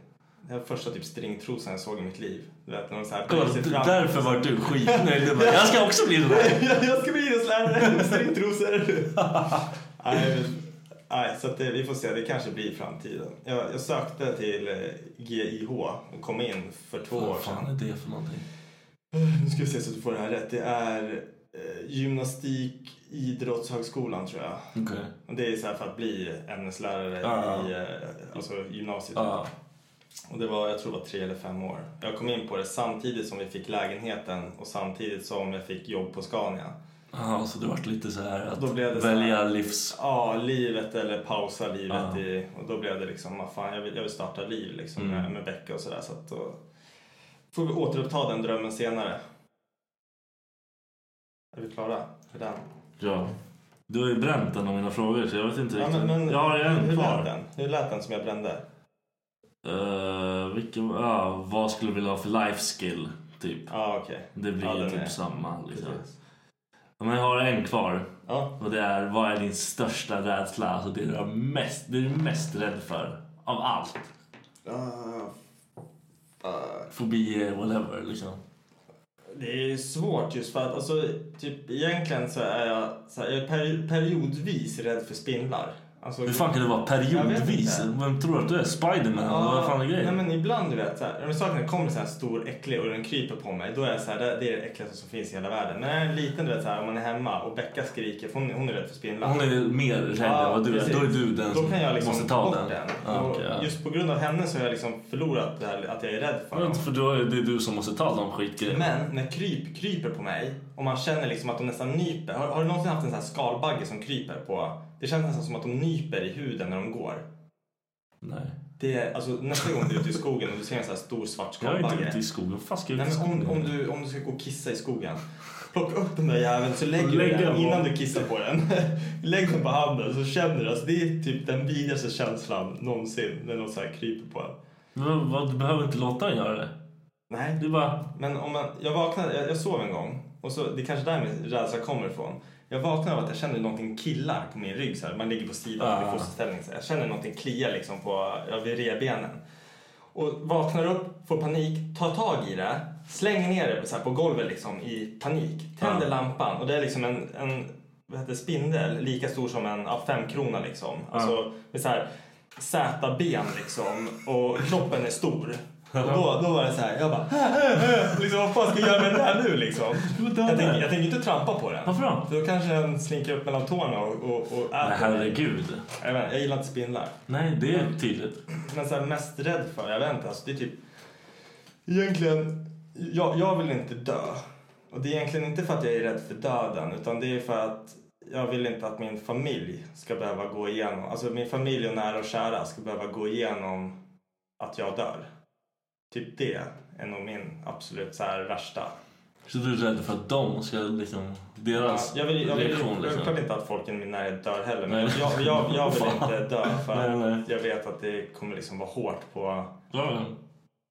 [SPEAKER 5] Det var första typ stringtrosan jag såg i mitt liv. Du vet, när de så här
[SPEAKER 2] Kolla,
[SPEAKER 5] böjer sig
[SPEAKER 2] d-
[SPEAKER 5] fram. (laughs)
[SPEAKER 2] därför var du skitnöjd. Du bara, Jag ska också bli den där.
[SPEAKER 5] jag, jag ska bli idrottslärare med (laughs) stringtrosor. Nej, men, nej, så att det, vi får se. Det kanske blir framtiden. Jag, jag sökte till eh, GIH och kom in för två år
[SPEAKER 2] Vad
[SPEAKER 5] sedan.
[SPEAKER 2] fan är det för någonting?
[SPEAKER 5] Nu ska vi se så att du får det här rätt. Det är eh, gymnastik, idrottshögskolan tror jag.
[SPEAKER 2] Okej.
[SPEAKER 5] Och det är så här för att bli ämneslärare
[SPEAKER 2] Ja.
[SPEAKER 5] i eh, alltså gymnasiet.
[SPEAKER 2] Ja.
[SPEAKER 5] Och det var, jag tror det var tre eller fem år. Jag kom in på det samtidigt som vi fick lägenheten och samtidigt som jag fick jobb på Scania.
[SPEAKER 2] Jaha, så du vart lite så här att
[SPEAKER 5] Då blev det så här-
[SPEAKER 2] välja livs...
[SPEAKER 5] Ja, livet eller pausa livet.
[SPEAKER 2] Ja. Mm.
[SPEAKER 5] I, och då blev det liksom, vad fan, jag vill, jag vill starta liv liksom med, med Becka och sådär. Så att då får vi återuppta den drömmen senare. Är vi klara för den?
[SPEAKER 2] Ja. Du har ju bränt en av mina frågor så jag vet inte
[SPEAKER 5] Ja,
[SPEAKER 2] riktigt.
[SPEAKER 5] men, men,
[SPEAKER 2] jag har ju en
[SPEAKER 5] hur
[SPEAKER 2] kvar.
[SPEAKER 5] lät den? Hur lät den som jag brände?
[SPEAKER 2] Eh, vilken, ja, vad skulle du vilja ha för life skill? Typ.
[SPEAKER 5] Ja, okej.
[SPEAKER 2] Det blir
[SPEAKER 5] Ja,
[SPEAKER 2] ju
[SPEAKER 5] den
[SPEAKER 2] typ
[SPEAKER 5] är-
[SPEAKER 2] samma. Liksom.
[SPEAKER 5] Precis.
[SPEAKER 2] Ja, Men jag har en kvar.
[SPEAKER 5] Ja.
[SPEAKER 2] Och det är, vad är din största rädsla? Alltså det du är mest, det du är mest rädd för. Av allt.
[SPEAKER 5] Ah, fuck.
[SPEAKER 2] Fobier, whatever liksom.
[SPEAKER 5] Det är svårt just för att alltså, typ, egentligen så är jag, så här, jag är peri- periodvis rädd för spindlar. Alltså,
[SPEAKER 2] Hur fan kan det vara periodvis?
[SPEAKER 5] Jag vet inte.
[SPEAKER 2] Vem tror att du är? Spiderman?
[SPEAKER 5] Ja,
[SPEAKER 2] Vad fan är grejen?
[SPEAKER 5] Nej, men ibland du vet, så här, om saken kommer så här stor äcklig och den kryper på mig, då är jag så här, det, det är det äckligaste som finns i hela världen. Men när jag är liten, du vet, så här, om man är hemma och Becka skriker, för hon, hon är rädd för spindlar.
[SPEAKER 2] Hon är mer rädd än
[SPEAKER 5] Ja,
[SPEAKER 2] vad du är.
[SPEAKER 5] precis.
[SPEAKER 2] Då är du den
[SPEAKER 5] Då
[SPEAKER 2] som
[SPEAKER 5] kan jag liksom
[SPEAKER 2] måste ta
[SPEAKER 5] bort
[SPEAKER 2] den. Ja,
[SPEAKER 5] Och
[SPEAKER 2] okej, ja.
[SPEAKER 5] Just på grund av henne så har jag liksom förlorat det här att jag är rädd för
[SPEAKER 2] Men
[SPEAKER 5] dem.
[SPEAKER 2] För då är det du som måste ta de skitgrejerna.
[SPEAKER 5] Men när kryp kryper på mig och man känner liksom att de nästan nyper. Har, har du någonsin haft en sån här skalbagge som kryper på? Det känns nästan som att de nyper i huden när de går.
[SPEAKER 2] Nej.
[SPEAKER 5] Det är, alltså, nästa gång du är ute i skogen och du ser en sån här stor svart
[SPEAKER 2] Jag är inte
[SPEAKER 5] skalbagge.
[SPEAKER 2] ute i skogen. Vad fan ska jag
[SPEAKER 5] Nej,
[SPEAKER 2] ut i
[SPEAKER 5] men
[SPEAKER 2] skogen?
[SPEAKER 5] om, om, du, om du ska gå och kissa i skogen, plocka upp den där jäveln så lägger
[SPEAKER 2] Lägg
[SPEAKER 5] du
[SPEAKER 2] den
[SPEAKER 5] den
[SPEAKER 2] på-
[SPEAKER 5] innan du kissar på den. (laughs) Lägg den på handen så känner du. Alltså, det är typ den vidrigaste känslan någonsin när någon så här kryper på en.
[SPEAKER 2] Men vad, du behöver inte låta den göra det.
[SPEAKER 5] Nej,
[SPEAKER 2] Du bara...
[SPEAKER 5] Men om man, jag vaknade, jag, jag sov en gång och så, det är kanske där min rädsla kommer ifrån. Jag vaknade av att jag kände någonting killar på min rygg så här. Man ligger på sidan
[SPEAKER 2] Ah.
[SPEAKER 5] i fosterställning. Så här. Jag känner någonting klia liksom på, ja, vid revbenen. Och vaknar upp, får panik, tar tag i det, slänger ner det så här, på golvet liksom i panik. Tänder
[SPEAKER 2] Ah.
[SPEAKER 5] lampan och det är liksom en, en vad heter, det, spindel lika stor som en ja, femkrona liksom. Alltså med så här Z-ben liksom och kroppen
[SPEAKER 2] (laughs)
[SPEAKER 5] är stor. Och då, då var det så här, jag bara liksom, vad fan ska jag göra med den här
[SPEAKER 2] (laughs)
[SPEAKER 5] nu liksom?
[SPEAKER 2] var död
[SPEAKER 5] Jag tänker,
[SPEAKER 2] där.
[SPEAKER 5] jag tänker inte trampa på den.
[SPEAKER 2] Varför då?
[SPEAKER 5] För Då kanske den slinker upp mellan tårna och, och, och äter
[SPEAKER 2] Nej,
[SPEAKER 5] mig.
[SPEAKER 2] herregud.
[SPEAKER 5] Jag, vet, inte, jag gillar inte spindlar.
[SPEAKER 2] Nej, det är tydligt.
[SPEAKER 5] Men så här, mest rädd för, jag vet inte, alltså, det är typ... Egentligen, jag, jag vill inte dö. Och det är egentligen inte för att jag är rädd för döden utan det är för att jag vill inte att min familj ska behöva gå igenom, alltså min familj och nära och kära ska behöva gå igenom att jag dör. Typ det är nog min absolut så här värsta.
[SPEAKER 2] Så du är rädd för att de ska liksom... Deras
[SPEAKER 5] Jag vill, jag vill,
[SPEAKER 2] reaktion
[SPEAKER 5] jag vill
[SPEAKER 2] liksom.
[SPEAKER 5] klart inte att folk i min närhet dör heller men
[SPEAKER 2] Nej.
[SPEAKER 5] jag, jag, jag
[SPEAKER 2] (laughs)
[SPEAKER 5] vill
[SPEAKER 2] Fan.
[SPEAKER 5] inte dö för att
[SPEAKER 2] Nej, nej.
[SPEAKER 5] jag vet att det kommer liksom vara hårt på...
[SPEAKER 2] Ja,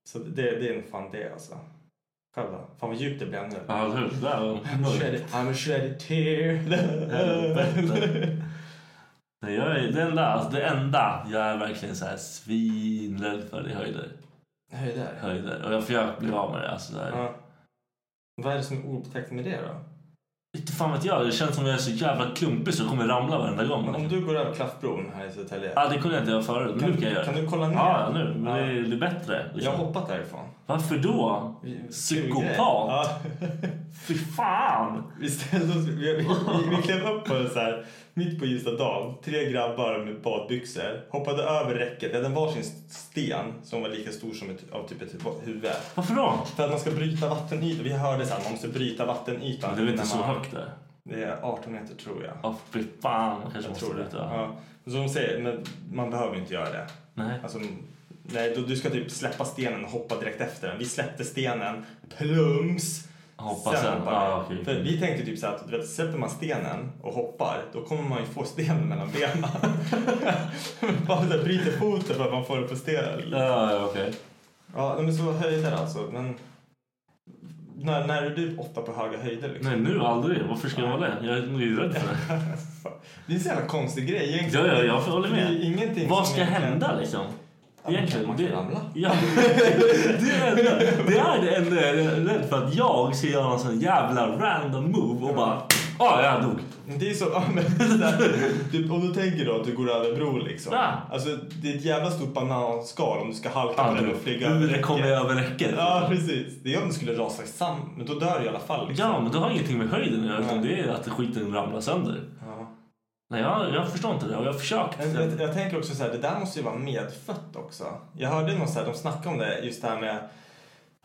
[SPEAKER 5] Så det, det är nog fan det alltså. Själv då? Fan vad djupt det blev nu.
[SPEAKER 2] ja, eller hur? Där var mörkt.
[SPEAKER 5] Shredded, I'm a shredded tear.
[SPEAKER 2] Helvete. Nej, jag är, det, enda, alltså det enda jag är verkligen så här svinrädd för det är höjder.
[SPEAKER 5] Höjder.
[SPEAKER 2] höjder. Och jag försöker bli av med det. Alltså, så här.
[SPEAKER 5] Ja. Vad är det som är obetäckt med det då?
[SPEAKER 2] Inte fan vet jag. Det känns som att jag är så jävla klumpig så jag kommer ramla varenda gång. liksom.
[SPEAKER 5] Men om du går över Klaffbron här i Södertälje.
[SPEAKER 2] Ja, det kunde jag inte göra förut. Men
[SPEAKER 5] Kan-
[SPEAKER 2] nu kan jag göra
[SPEAKER 5] kan
[SPEAKER 2] det.
[SPEAKER 5] du kolla ner?
[SPEAKER 2] Ja, ja, nu. Men
[SPEAKER 5] Ja.
[SPEAKER 2] det är det är bättre.
[SPEAKER 5] Jag
[SPEAKER 2] Liksom.
[SPEAKER 5] har hoppat därifrån.
[SPEAKER 2] Varför då?
[SPEAKER 5] Vi-
[SPEAKER 2] Psykopat?
[SPEAKER 5] Ja.
[SPEAKER 2] Fy fan!
[SPEAKER 5] Vi ställde oss, vi, vi, vi, vi klev upp på en så här, mitt på ljusa dagen, tre grabbar med badbyxor, hoppade över räcket, vi hade en varsin sten som var lika stor som ett, av typ ett huvud.
[SPEAKER 2] Varför då?
[SPEAKER 5] För att man ska bryta vattenytan, vi hörde så här, man måste bryta vattenytan.
[SPEAKER 2] Det är väl inte
[SPEAKER 5] innan
[SPEAKER 2] så
[SPEAKER 5] man-
[SPEAKER 2] högt där?
[SPEAKER 5] Det är 18 meter tror jag.
[SPEAKER 2] Ja, fy fan. Man kanske
[SPEAKER 5] jag
[SPEAKER 2] måste
[SPEAKER 5] tror det.
[SPEAKER 2] sluta.
[SPEAKER 5] Ja. Som de säger, men man behöver ju inte göra det.
[SPEAKER 2] Nej.
[SPEAKER 5] Alltså, nej, du, du ska typ släppa stenen och hoppa direkt efter den. Vi släppte stenen, plums.
[SPEAKER 2] Hoppa sen.
[SPEAKER 5] hoppar
[SPEAKER 2] Ja,
[SPEAKER 5] vi.
[SPEAKER 2] okej.
[SPEAKER 5] För vi tänkte typ så här att du vet, släpper man stenen och hoppar, då kommer man ju få stenen mellan benen. (laughs) Bara så här, bryter foten för att man får den på stenen.
[SPEAKER 2] Ja, ja, okej.
[SPEAKER 5] Ja, men så höjder alltså. Men när, när är du åtta på höga höjder liksom?
[SPEAKER 2] Nej, nu aldrig. Varför ska jag vara det? Jag är ju rädd för det.
[SPEAKER 5] (laughs) Det är en så jävla konstig grej
[SPEAKER 2] Ja,
[SPEAKER 5] egentligen.
[SPEAKER 2] ja, jag håller
[SPEAKER 5] Det
[SPEAKER 2] med.
[SPEAKER 5] är ingenting
[SPEAKER 2] Vad
[SPEAKER 5] som
[SPEAKER 2] ska
[SPEAKER 5] egentligen-
[SPEAKER 2] hända liksom?
[SPEAKER 5] man kan- man kan
[SPEAKER 2] det,
[SPEAKER 5] ramla.
[SPEAKER 2] Ja, det, är det, enda- det är det enda jag är rädd för. Att jag ska göra en sån jävla random move och bara Ja, jag dog.
[SPEAKER 5] Det är så, (laughs) ja, men det där, typ, om du tänker då att du går över bro liksom.
[SPEAKER 2] Ja.
[SPEAKER 5] Alltså det är ett jävla stort bananskal om du ska halka
[SPEAKER 2] Ja,
[SPEAKER 5] på den
[SPEAKER 2] du,
[SPEAKER 5] och flyga över
[SPEAKER 2] du kommer
[SPEAKER 5] räcket.
[SPEAKER 2] över räcket.
[SPEAKER 5] Ja precis. Det är om du skulle rasa samman, men då dör du i alla fall. Liksom.
[SPEAKER 2] Ja, men det har ingenting med höjden att göra utan
[SPEAKER 5] Nej.
[SPEAKER 2] det är att skiten ramlar sönder.
[SPEAKER 5] Ja.
[SPEAKER 2] Nej, jag, jag förstår inte det och jag har försökt.
[SPEAKER 5] Men Jag, jag tänker också så här, det där måste ju vara medfött också. Jag hörde någon så här, de snackade om det, just det här med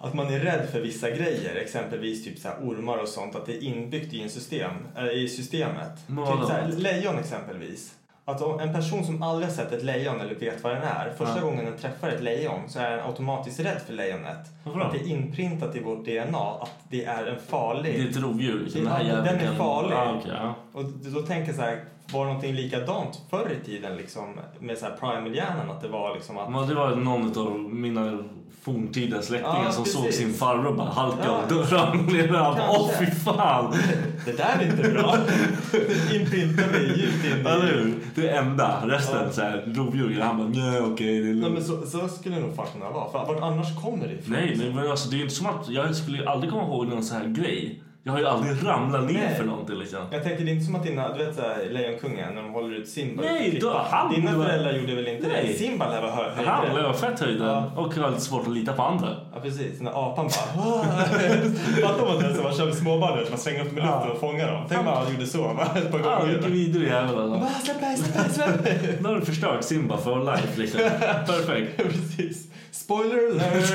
[SPEAKER 5] att man är rädd för vissa grejer, exempelvis typ så här ormar och sånt, att det är inbyggt i, en system, eller i systemet.
[SPEAKER 2] Men
[SPEAKER 5] typ
[SPEAKER 2] vadå?
[SPEAKER 5] så här, lejon exempelvis. Att om en person som aldrig har sett ett lejon eller vet vad den är, första gången den träffar ett lejon så är den automatiskt rädd för lejonet.
[SPEAKER 2] Varför då?
[SPEAKER 5] Att det är inprintat i vårt DNA att det är en farlig...
[SPEAKER 2] Det är ett rovdjur. liksom,
[SPEAKER 5] Det- Typ, ja,
[SPEAKER 2] jäveln
[SPEAKER 5] den är
[SPEAKER 2] kan-
[SPEAKER 5] farlig.
[SPEAKER 2] Ja, okej, ja.
[SPEAKER 5] Och då tänker jag så här, var det någonting likadant förr i tiden liksom med så här primal-hjärnan? Att det var liksom att...
[SPEAKER 2] Men det var någon av mina forntida släktingar
[SPEAKER 5] Ja,
[SPEAKER 2] som
[SPEAKER 5] precis.
[SPEAKER 2] såg sin farbror bara halka
[SPEAKER 5] Ja.
[SPEAKER 2] och dö- (laughs) ramla ner. Han bara, Åh
[SPEAKER 5] Kanske.
[SPEAKER 2] fy
[SPEAKER 5] (laughs)
[SPEAKER 2] fan!
[SPEAKER 5] Det där är inte
[SPEAKER 2] (laughs)
[SPEAKER 5] bra! Det inprintar vi djupt in
[SPEAKER 2] Eller
[SPEAKER 5] i...
[SPEAKER 2] hur? Det är enda. Resten så här rovdjur. Han bara nej okej. det är
[SPEAKER 5] Nej,
[SPEAKER 2] lugnt."
[SPEAKER 5] men så, så skulle det nog fan kunna vara. För vart annars kommer det ifrån?
[SPEAKER 2] Nej men alltså det är ju inte som att jag skulle ju aldrig komma ihåg någon så här grej. Jag har ju aldrig ramlat ner
[SPEAKER 5] Nej.
[SPEAKER 2] för någonting liksom.
[SPEAKER 5] Jag tänker, det är inte som att dina, du vet såhär Lejonkungen när de håller ut Simba ur
[SPEAKER 2] Nej,
[SPEAKER 5] klippan.
[SPEAKER 2] då- han-
[SPEAKER 5] Dina föräldrar gjorde väl inte
[SPEAKER 2] Nej.
[SPEAKER 5] det? Simba lär vara hö-
[SPEAKER 2] Han
[SPEAKER 5] högre.
[SPEAKER 2] har fett höjden
[SPEAKER 5] Ja.
[SPEAKER 2] och har lite svårt att lita på andra.
[SPEAKER 5] Ja precis, när apan bara... "Åh!" (laughs) Fattar man det? Så man kör med småbarn, du vet, man slänger upp dem i luften och fångar dem. Tänk om han gjorde så va? ett par
[SPEAKER 2] Ah, vilken
[SPEAKER 5] gånger.
[SPEAKER 2] vidrig jävel alltså.
[SPEAKER 5] Bara, Släpp mig, släpp mig, släpp (laughs) mig!
[SPEAKER 2] Nu har du förstört Simba for life
[SPEAKER 5] (laughs)
[SPEAKER 2] liksom. Perfekt.
[SPEAKER 5] Precis. Spoiler alert!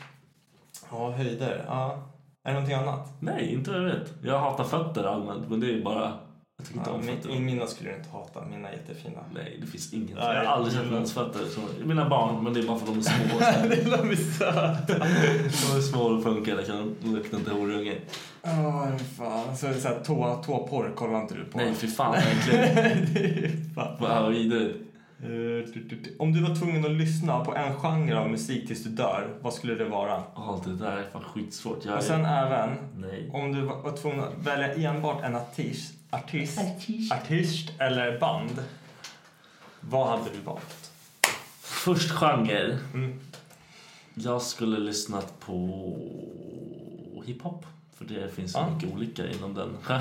[SPEAKER 5] (laughs) ja, höjder. Ja. Är det någonting annat?
[SPEAKER 2] Nej, inte vad jag vet. Jag hatar fötter allmänt, men det är bara... Jag tycker inte
[SPEAKER 5] Ja,
[SPEAKER 2] om fötter.
[SPEAKER 5] min, mina skulle du inte hata. Mina är jättefina.
[SPEAKER 2] Nej, det finns inget.
[SPEAKER 5] Nej,
[SPEAKER 2] jag har aldrig
[SPEAKER 5] det är
[SPEAKER 2] sett
[SPEAKER 5] bra.
[SPEAKER 2] någons fötter. Som... Mina barn, men det är bara för att de är
[SPEAKER 5] (laughs)
[SPEAKER 2] små.
[SPEAKER 5] det är de är söta.
[SPEAKER 2] de är små och funkar liksom. De luktar inte horunge.
[SPEAKER 5] (laughs) Ja, oh, fan. Så är det såhär tå, tåporr kollar inte du på.
[SPEAKER 2] Nej,
[SPEAKER 5] (laughs)
[SPEAKER 2] fy fan vad äckligt.
[SPEAKER 5] Det är fan.
[SPEAKER 2] Vad vidrigt.
[SPEAKER 5] Eh, du, du, du. Om du var tvungen att lyssna på en genre av musik tills du dör, vad skulle det vara?
[SPEAKER 2] Åh, det där är fan skitsvårt. Jag är...
[SPEAKER 5] Och sen även,
[SPEAKER 2] Nej.
[SPEAKER 5] om du var var tvungen att välja enbart en artist, artist, artist. eller band, vad hade du valt?
[SPEAKER 2] Först genre.
[SPEAKER 5] Mm.
[SPEAKER 2] Jag skulle lyssnat på hiphop. För det finns så
[SPEAKER 5] Ja.
[SPEAKER 2] mycket olika inom
[SPEAKER 5] (laughs)
[SPEAKER 2] den.
[SPEAKER 5] Ja,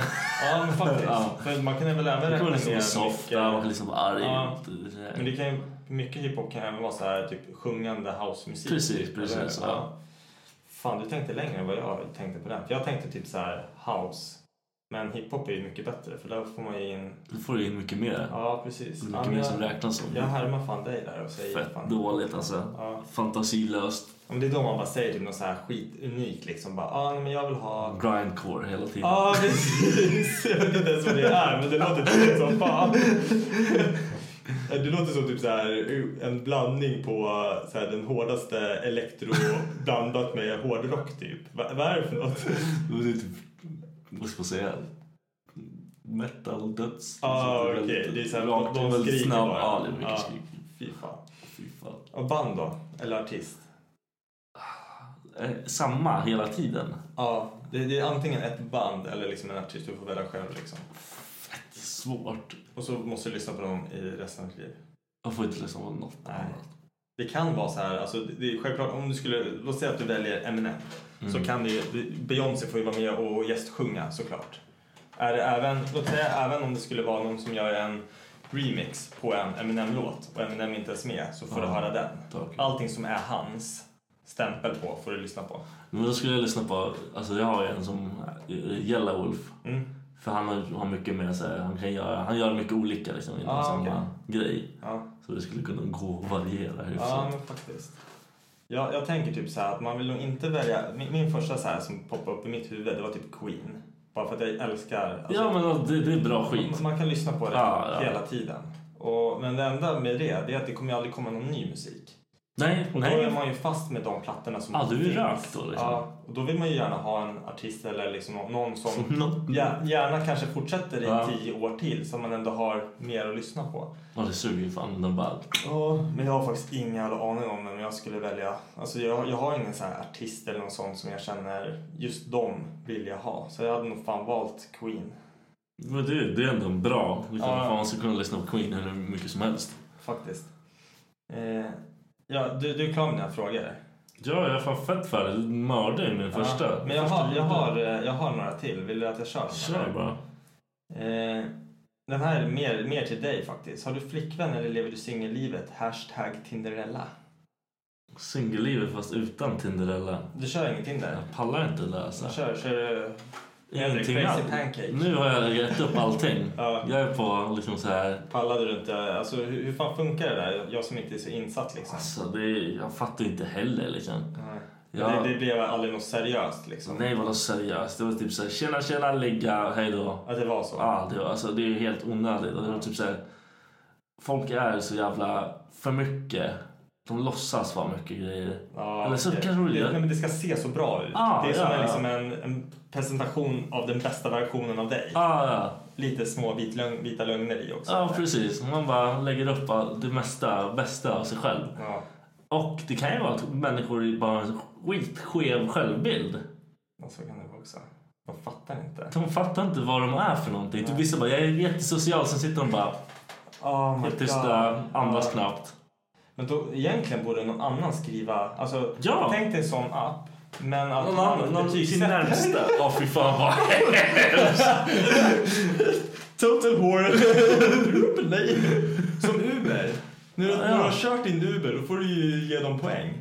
[SPEAKER 5] men
[SPEAKER 2] (laughs)
[SPEAKER 5] faktiskt.
[SPEAKER 2] Ja.
[SPEAKER 5] För man kan ju väl även
[SPEAKER 2] Det kan vara liksom
[SPEAKER 5] mycket-
[SPEAKER 2] soft, man kan liksom vara arg.
[SPEAKER 5] Ja.
[SPEAKER 2] Det där.
[SPEAKER 5] Men det kan ju, mycket hiphop kan även vara så här, typ sjungande housemusik. typ,
[SPEAKER 2] Precis, precis,
[SPEAKER 5] Eller?
[SPEAKER 2] ja.
[SPEAKER 5] Fan, du tänkte längre än vad jag tänkte på den. För jag tänkte typ så här house. Men hiphop är ju mycket bättre för där får man ju in...
[SPEAKER 2] Då får du in mycket mer.
[SPEAKER 5] Ja, precis.
[SPEAKER 2] Mycket
[SPEAKER 5] Ja, men
[SPEAKER 2] mer
[SPEAKER 5] jag-
[SPEAKER 2] som räknas som.
[SPEAKER 5] Jag härmar fan dig där och säger
[SPEAKER 2] Fett
[SPEAKER 5] fan.
[SPEAKER 2] dåligt alltså.
[SPEAKER 5] Ja.
[SPEAKER 2] Fantasilöst.
[SPEAKER 5] Om det är då man bara säger typ något så här skitunikt liksom bara ah, nej, men jag vill
[SPEAKER 2] Mm.
[SPEAKER 5] ha
[SPEAKER 2] Grindcore hela tiden.
[SPEAKER 5] Ja ah, precis, (laughs) jag vet inte ens vad det är men det låter typ som fan. Det låter som typ så här, en blandning på så här, den hårdaste elektro blandat med hårdrock typ. Va, vad är det för något?
[SPEAKER 2] Det är typ, vad ska man säga? Metal, döds...
[SPEAKER 5] Ah,
[SPEAKER 2] liksom,
[SPEAKER 5] okej.
[SPEAKER 2] väldigt
[SPEAKER 5] Det är så här,
[SPEAKER 2] rakt,
[SPEAKER 5] de
[SPEAKER 2] väldigt
[SPEAKER 5] skriker
[SPEAKER 2] snabb.
[SPEAKER 5] bara.
[SPEAKER 2] Ja, det är mycket
[SPEAKER 5] Ja.
[SPEAKER 2] skrik.
[SPEAKER 5] Fy fan.
[SPEAKER 2] Fy fan.
[SPEAKER 5] Och band då? Eller artist?
[SPEAKER 2] Eh, Samma hela tiden.
[SPEAKER 5] Ja, det, det är antingen ett band eller liksom en artist. Du får välja själv liksom.
[SPEAKER 2] Svårt.
[SPEAKER 5] Och så måste du lyssna på dem i resten av ditt liv.
[SPEAKER 2] Jag får inte lyssna på något
[SPEAKER 5] Nej.
[SPEAKER 2] annat.
[SPEAKER 5] Det kan vara så här, alltså det- det är självklart om du skulle, låt säga att du väljer Eminem. Så kan det ju, Beyoncé får ju vara med och gästsjunga såklart. Är det även, låt säga även om det skulle vara någon som gör en remix på en Eminem-låt och Eminem inte ens med så får du höra den.
[SPEAKER 2] tack.
[SPEAKER 5] Allting som är hans stämpel på får du lyssna på.
[SPEAKER 2] Men då skulle jag lyssna på, alltså jag har ju en som eh, Yelawolf.
[SPEAKER 5] Mm.
[SPEAKER 2] För han har, har mycket mer så här, han kan göra, han gör mycket olika liksom inom
[SPEAKER 5] Ah,
[SPEAKER 2] samma
[SPEAKER 5] okej.
[SPEAKER 2] grej.
[SPEAKER 5] Ja,
[SPEAKER 2] Så det skulle kunna gå att variera hyfsat.
[SPEAKER 5] ja men faktiskt. Jag, jag tänker typ så här att man vill nog inte välja, min, min första så här som poppade upp i mitt huvud det var typ Queen. Bara för att jag älskar alltså,
[SPEAKER 2] ja men det, det är bra skit.
[SPEAKER 5] Man, man kan lyssna på det
[SPEAKER 2] Ja, ja.
[SPEAKER 5] hela tiden. Och, men det enda med det, det är att det kommer ju aldrig komma någon ny musik.
[SPEAKER 2] Nej,
[SPEAKER 5] Och då är
[SPEAKER 2] nej.
[SPEAKER 5] man ju fast med de plattorna som
[SPEAKER 2] Ja, du är
[SPEAKER 5] finns.
[SPEAKER 2] rökt då, liksom.
[SPEAKER 5] Ja, och då vill man ju gärna ha en artist eller liksom nå- någon som
[SPEAKER 2] (laughs) Något-
[SPEAKER 5] gär- gärna kanske fortsätter i
[SPEAKER 2] Ja.
[SPEAKER 5] tio år till så man ändå har mer att lyssna på.
[SPEAKER 2] Ja, det suger ju fan. De bara...
[SPEAKER 5] Ja, men jag har faktiskt ingen jävla aning om vem jag skulle välja. Alltså jag, jag har ingen sån här artist eller någon sån som jag känner just dem vill jag ha. Så jag hade nog fan valt Queen.
[SPEAKER 2] Men det, det är ändå en bra. Liksom,
[SPEAKER 5] Ja.
[SPEAKER 2] fan, man ska kunna lyssna på Queen hur mycket som helst.
[SPEAKER 5] Faktiskt. Eh, ja, du, du är klar med dina frågor?
[SPEAKER 2] Ja, jag är fan fett för det. Mördade ju min första.
[SPEAKER 5] Men jag
[SPEAKER 2] första
[SPEAKER 5] har, jag,
[SPEAKER 2] videon.
[SPEAKER 5] har, eh, jag har några till. Vill du att jag kör? några?
[SPEAKER 2] Kör bara.
[SPEAKER 5] Eh, den här är mer, mer till dig faktiskt. Har du flickvän eller lever du singellivet? Hashtag Tinderella.
[SPEAKER 2] Singellivet fast utan Tinderella.
[SPEAKER 5] Du kör ingenting där?
[SPEAKER 2] Jag pallar inte det alltså.
[SPEAKER 5] Du kör, kör du...
[SPEAKER 2] Ingenting
[SPEAKER 5] Crazy
[SPEAKER 2] alls.
[SPEAKER 5] pancake.
[SPEAKER 2] Nu har jag gett upp allting.
[SPEAKER 5] Ja.
[SPEAKER 2] Jag är på liksom så här.
[SPEAKER 5] Pallade du inte? Alltså hur, hur fan funkar det där? Jag som inte är så insatt liksom.
[SPEAKER 2] Alltså, det är, jag fattar inte heller liksom.
[SPEAKER 5] Nej.
[SPEAKER 2] Ja.
[SPEAKER 5] Det, det blev aldrig något seriöst liksom.
[SPEAKER 2] Nej, vadå seriöst? Det var typ så här, tjena, tjena, ligga, hej då.
[SPEAKER 5] Att det var så.
[SPEAKER 2] Ja, det, var, alltså, det är ju helt onödigt. Och det var typ så här, folk är så jävla för mycket. De låtsas vara mycket grejer.
[SPEAKER 5] Ja,
[SPEAKER 2] Eller så
[SPEAKER 5] okej.
[SPEAKER 2] kanske de
[SPEAKER 5] det,
[SPEAKER 2] gör.
[SPEAKER 5] nej, men det ska se så bra ut.
[SPEAKER 2] Ah,
[SPEAKER 5] det är
[SPEAKER 2] ja,
[SPEAKER 5] som en,
[SPEAKER 2] ja.
[SPEAKER 5] liksom en, en presentation av den bästa versionen av dig.
[SPEAKER 2] Ah, Ja, ja.
[SPEAKER 5] Lite små vit lögn, vita lögner i också.
[SPEAKER 2] ja, precis. Man bara lägger upp all- det mesta, bästa av sig själv.
[SPEAKER 5] Ja.
[SPEAKER 2] Och det kan ju vara att människor bara har en skitskev självbild.
[SPEAKER 5] Ja, så kan det vara också. De fattar inte.
[SPEAKER 2] De fattar inte vad de är för någonting. Typ vissa bara, jag är jättesocial. Sen sitter de bara
[SPEAKER 5] Oh my
[SPEAKER 2] helt tysta, andas
[SPEAKER 5] Ja.
[SPEAKER 2] knappt.
[SPEAKER 5] Men då, egentligen borde någon annan skriva... Alltså,
[SPEAKER 2] Ja.
[SPEAKER 5] tänk dig en sån app, men att
[SPEAKER 2] Någon
[SPEAKER 5] man
[SPEAKER 2] annan, någon sin
[SPEAKER 5] betygsätter-
[SPEAKER 2] närmsta. Ja, fy fan vad
[SPEAKER 5] (laughs) Total whore. Nej. Som Uber. När du, när du har kört din Uber då får du ju ge dem poäng.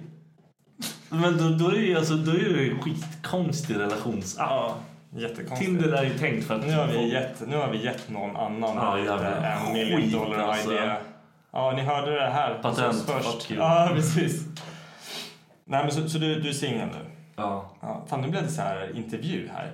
[SPEAKER 2] Men då, då är ju alltså, då är det ju en skitkonstig relationsapp.
[SPEAKER 5] Ja, jättekonstigt.
[SPEAKER 2] Tinder är ju tänkt för att...
[SPEAKER 5] Nu har vi gett, nu har vi gett någon annan
[SPEAKER 2] Ja, jävla
[SPEAKER 5] en million
[SPEAKER 2] skit,
[SPEAKER 5] dollar
[SPEAKER 2] alltså.
[SPEAKER 5] idé. Ja, ni hörde det här hos
[SPEAKER 2] Patent,
[SPEAKER 5] oss först.
[SPEAKER 2] fuck you.
[SPEAKER 5] Ja, (laughs) precis. Nej, men så, så du, du är singel nu?
[SPEAKER 2] Ja,
[SPEAKER 5] Ja, fan, nu blev det så här intervju här.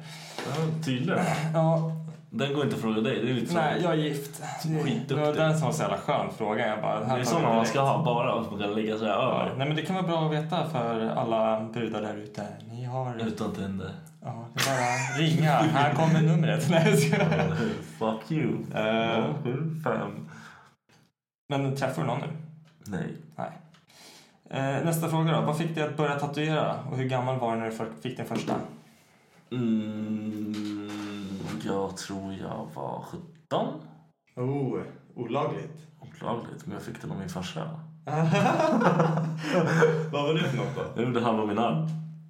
[SPEAKER 2] Ja, tydligen.
[SPEAKER 5] Ja,
[SPEAKER 2] Den går inte att fråga dig. Det är lite så.
[SPEAKER 5] nej, jag är gift. Det
[SPEAKER 2] Skitduktig.
[SPEAKER 5] var den som var så jävla skön fråga. Jag bara,
[SPEAKER 2] Det är sådana man ska ha bara för att kunna ligga så här över.
[SPEAKER 5] Nej, men det kan vara bra att veta för alla brudar där ute. Ni har...
[SPEAKER 2] Utan Tinder.
[SPEAKER 5] Ja, det är bara ringa. Här
[SPEAKER 2] (laughs)
[SPEAKER 5] kommer numret. (laughs) Nej, jag skojar.
[SPEAKER 2] Fuck you.
[SPEAKER 5] Eh,
[SPEAKER 2] Sju, fem.
[SPEAKER 5] Men träffar du någon nu?
[SPEAKER 2] Nej.
[SPEAKER 5] Nej. Eh, nästa fråga då. Vad fick dig att börja tatuera? Och hur gammal var du när du för- fick din första?
[SPEAKER 2] Mm, jag tror jag var 17.
[SPEAKER 5] Oh, (laughs) olagligt.
[SPEAKER 2] Olagligt, men jag fick den av min farsa.
[SPEAKER 5] Vad var det för något då?
[SPEAKER 2] Jag gjorde halva min arm.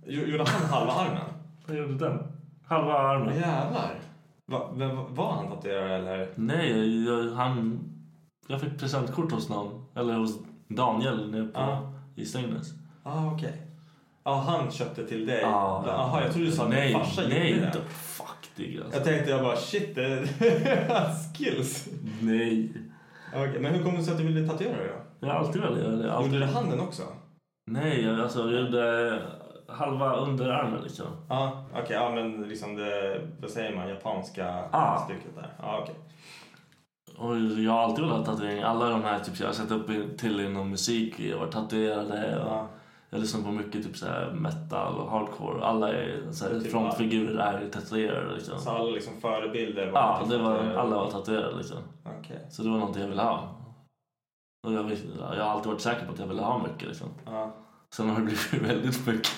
[SPEAKER 5] Gjorde han halva armen?
[SPEAKER 2] Jag gjorde den. Halva armen.
[SPEAKER 5] Jävlar. Va, men va- var han tatuerare eller?
[SPEAKER 2] Nej, jag, han... Jag fick presentkort hos någon. Eller hos Daniel nere på,
[SPEAKER 5] Ja.
[SPEAKER 2] i Strängnäs.
[SPEAKER 5] Ja, ah, okej. Ja, han köpte till dig?
[SPEAKER 2] Ja.
[SPEAKER 5] Jaha, jag trodde du sa att
[SPEAKER 2] nej,
[SPEAKER 5] din farsa
[SPEAKER 2] nej,
[SPEAKER 5] gjorde
[SPEAKER 2] då-
[SPEAKER 5] det.
[SPEAKER 2] Fuck dig alltså.
[SPEAKER 5] Jag tänkte jag bara shit, det (laughs) skills.
[SPEAKER 2] Nej.
[SPEAKER 5] Okej, men hur kom det sig att du ville tatuera dig då?
[SPEAKER 2] Jag har alltid velat göra det. Alltid.
[SPEAKER 5] Gjorde du handen också?
[SPEAKER 2] Nej, jag- alltså jag gjorde halva underarmen liksom.
[SPEAKER 5] Ja, okej. ja, men liksom det, vad säger man, japanska
[SPEAKER 2] Ah.
[SPEAKER 5] stycket där. Ja, okej.
[SPEAKER 2] Och jag har alltid velat ha tatuering. Alla de här typ, jag har sett upp i- till inom musik, jag har varit tatuerade. Och
[SPEAKER 5] Ja.
[SPEAKER 2] Jag lyssnar på mycket typ så här metal och hardcore. Alla är så här,
[SPEAKER 5] Typ
[SPEAKER 2] frontfigurer är tatuerade liksom.
[SPEAKER 5] Så alla liksom förebilder? var
[SPEAKER 2] Ja,
[SPEAKER 5] typ
[SPEAKER 2] det var,
[SPEAKER 5] att, eh,
[SPEAKER 2] alla var tatuerade liksom.
[SPEAKER 5] Okej.
[SPEAKER 2] Så det var någonting jag ville ha. Och jag, visste- jag har alltid varit säker på att jag ville ha mycket liksom.
[SPEAKER 5] Ja.
[SPEAKER 2] Sen har det blivit (laughs) väldigt mycket.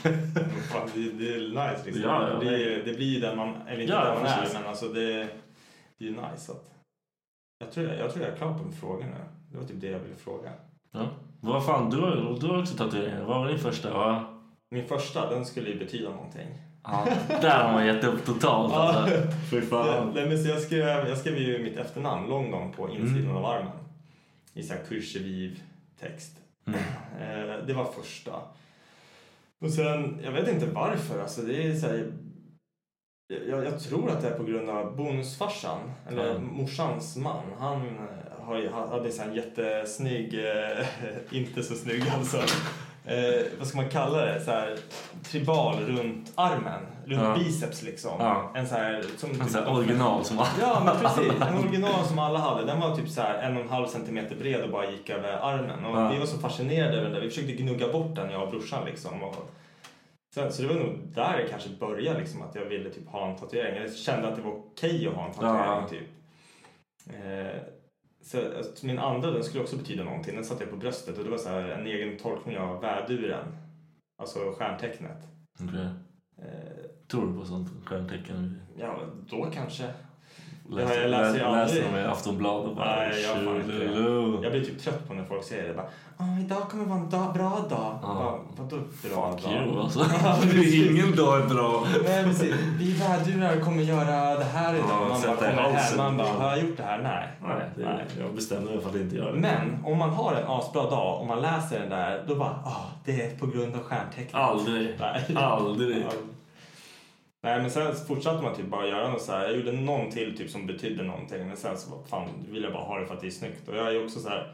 [SPEAKER 5] Fan, det, det är nice liksom.
[SPEAKER 2] Ja, ja,
[SPEAKER 5] det, blir, ju- det blir ju där man, eller inte
[SPEAKER 2] Ja,
[SPEAKER 5] där man
[SPEAKER 2] precis.
[SPEAKER 5] är, men alltså det, det är ju nice att... Jag tror jag, jag tror jag är klar på min fråga nu. Det var typ det jag ville fråga.
[SPEAKER 2] Ja. Vad fan, du har, du har också tatueringar. Vad var din första? Va?
[SPEAKER 5] Min första, den skulle ju betyda någonting.
[SPEAKER 2] Ja, (laughs) där har man gett upp totalt alltså. Fy
[SPEAKER 5] Ja, Nej, men så jag, skrev, jag skrev ju mitt efternamn, Longdon, på insidan
[SPEAKER 2] Mm.
[SPEAKER 5] av armen. I så här kursiv text.
[SPEAKER 2] Mm.
[SPEAKER 5] Eh, det var första. Och sen, jag vet inte varför, alltså det är så här, jag, jag tror att det är på grund av bonusfarsan, eller
[SPEAKER 2] Ja.
[SPEAKER 5] morsans man. Han har ju, han hade så här en jättesnygg, eh, (laughs) inte så snygg alltså, eh, vad ska man kalla det, så här, tribal runt armen, runt
[SPEAKER 2] Ja.
[SPEAKER 5] biceps liksom.
[SPEAKER 2] Ja.
[SPEAKER 5] En så här, som
[SPEAKER 2] En sån här original som (laughs)
[SPEAKER 5] Ja, men precis. En original som alla hade. Den var typ så här en och en halv centimeter bred och bara gick över armen. Och
[SPEAKER 2] Ja.
[SPEAKER 5] Vi var så fascinerade över den där. Vi försökte gnugga bort den, jag och brorsan. Liksom. Och sen, så det var nog där det kanske började, liksom, att jag ville typ ha en tatuering. Jag kände att det var okej att ha en tatuering.
[SPEAKER 2] Ja.
[SPEAKER 5] Typ. Eh, så, alltså, min andra den skulle också betyda någonting. Den satte jag på bröstet och det var så här, en egen tolkning av väduren. Alltså stjärntecknet.
[SPEAKER 2] Okej.
[SPEAKER 5] Eh,
[SPEAKER 2] Tror du på sånt stjärntecken?
[SPEAKER 5] ja, då kanske. Ja, jag läser ju aldrig.
[SPEAKER 2] läser dem i Aftonbladet och bara
[SPEAKER 5] Nej, jag, fan inte.
[SPEAKER 2] tjolulu.
[SPEAKER 5] jag blir typ trött på när folk säger det. Bara, "Ja, idag kommer vara en dag, bra dag. Bara, Vadå bra
[SPEAKER 2] Fuck
[SPEAKER 5] dag?
[SPEAKER 2] you
[SPEAKER 5] (laughs)
[SPEAKER 2] alltså. Det är Ingen dag är bra.
[SPEAKER 5] Nej precis. Vi vädurar kommer göra det här idag.
[SPEAKER 2] Ja,
[SPEAKER 5] man bara
[SPEAKER 2] sätta i
[SPEAKER 5] kommer hem.
[SPEAKER 2] halsen.
[SPEAKER 5] Man bara, har jag gjort det här? Nej.
[SPEAKER 2] Nej, det är, jag bestämde mig för att inte göra det.
[SPEAKER 5] Men om man har en asbra dag och man läser den där, då bara, ah, det är på grund av stjärntecknet.
[SPEAKER 2] Aldrig.
[SPEAKER 5] Nej.
[SPEAKER 2] Aldrig.
[SPEAKER 5] Ja. (laughs) Nej men sen fortsatte man typ bara göra något så här. Jag gjorde någon till typ som betydde någonting. Men sen så bara, fan, vill jag bara ha det för att det är snyggt. Och jag är ju också så här.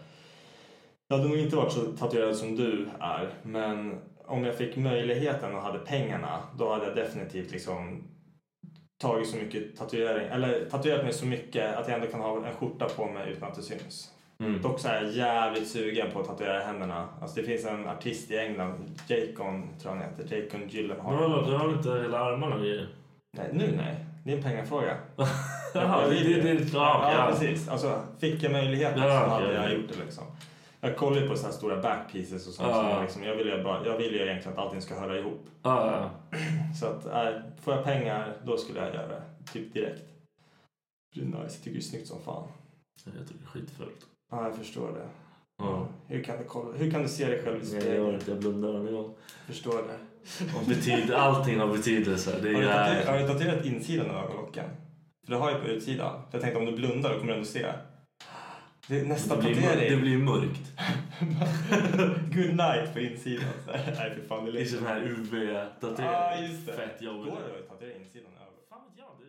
[SPEAKER 5] Jag hade nog inte varit så tatuerad som du är. Men om jag fick möjligheten och hade pengarna. Då hade jag definitivt liksom tagit så mycket tatuering. Eller tatuerat mig så mycket att jag ändå kan ha en skjorta på mig utan att det syns.
[SPEAKER 2] Mm.
[SPEAKER 5] Dock så är jag jävligt sugen på att tatuera händerna. Alltså det finns en artist i England, Jacon tror jag han heter, Jacon Gyllenhaal.
[SPEAKER 2] Men vadå, du har inte hela armarna och grejer?
[SPEAKER 5] Nej, nu nej. Det är en pengafråga.
[SPEAKER 2] Jaha, det, det, det, det,
[SPEAKER 5] ja,
[SPEAKER 2] ja, ja.
[SPEAKER 5] precis. Alltså, fick jag möjligheten
[SPEAKER 2] Ja,
[SPEAKER 5] så hade
[SPEAKER 2] okej.
[SPEAKER 5] jag gjort det liksom. Jag kollar ju på så här stora backpieces och sånt.
[SPEAKER 2] Ja.
[SPEAKER 5] som jag liksom, jag, vill ju bara, jag vill ju egentligen att allting ska höra ihop.
[SPEAKER 2] Ja, ja.
[SPEAKER 5] Så att, nej, får jag pengar, då skulle jag göra det. Typ direkt. Det är nice. Jag tycker det är snyggt som fan.
[SPEAKER 2] Jag tycker det är skitfult.
[SPEAKER 5] Ja, jag förstår det.
[SPEAKER 2] Ja.
[SPEAKER 5] Hur kan du, kolla, hur kan du se dig själv i
[SPEAKER 2] Jag gör
[SPEAKER 5] spegeln?
[SPEAKER 2] inte, jag blundar varje gång.
[SPEAKER 5] Förstår det.
[SPEAKER 2] Och betyd, allting har betydelse. Det
[SPEAKER 5] Har du, tatuerat, har
[SPEAKER 2] är...
[SPEAKER 5] du tatuerat insidan av ögonlocken? För det har jag på utsidan. För jag tänkte om du blundar då kommer du ändå se. Det är nästa
[SPEAKER 2] Det blir, mör-
[SPEAKER 5] tatuering.
[SPEAKER 2] det blir mörkt.
[SPEAKER 5] (laughs) Good night på insidan. (laughs) Så här, Nej fy fan det är
[SPEAKER 2] Det är sån
[SPEAKER 5] läskigt.
[SPEAKER 2] här UV-tatuering.
[SPEAKER 5] Ja just det.
[SPEAKER 2] Fett jobbigt.
[SPEAKER 5] Går det att tatuera insidan av ögonlocken?
[SPEAKER 2] Fan vet jag, det är-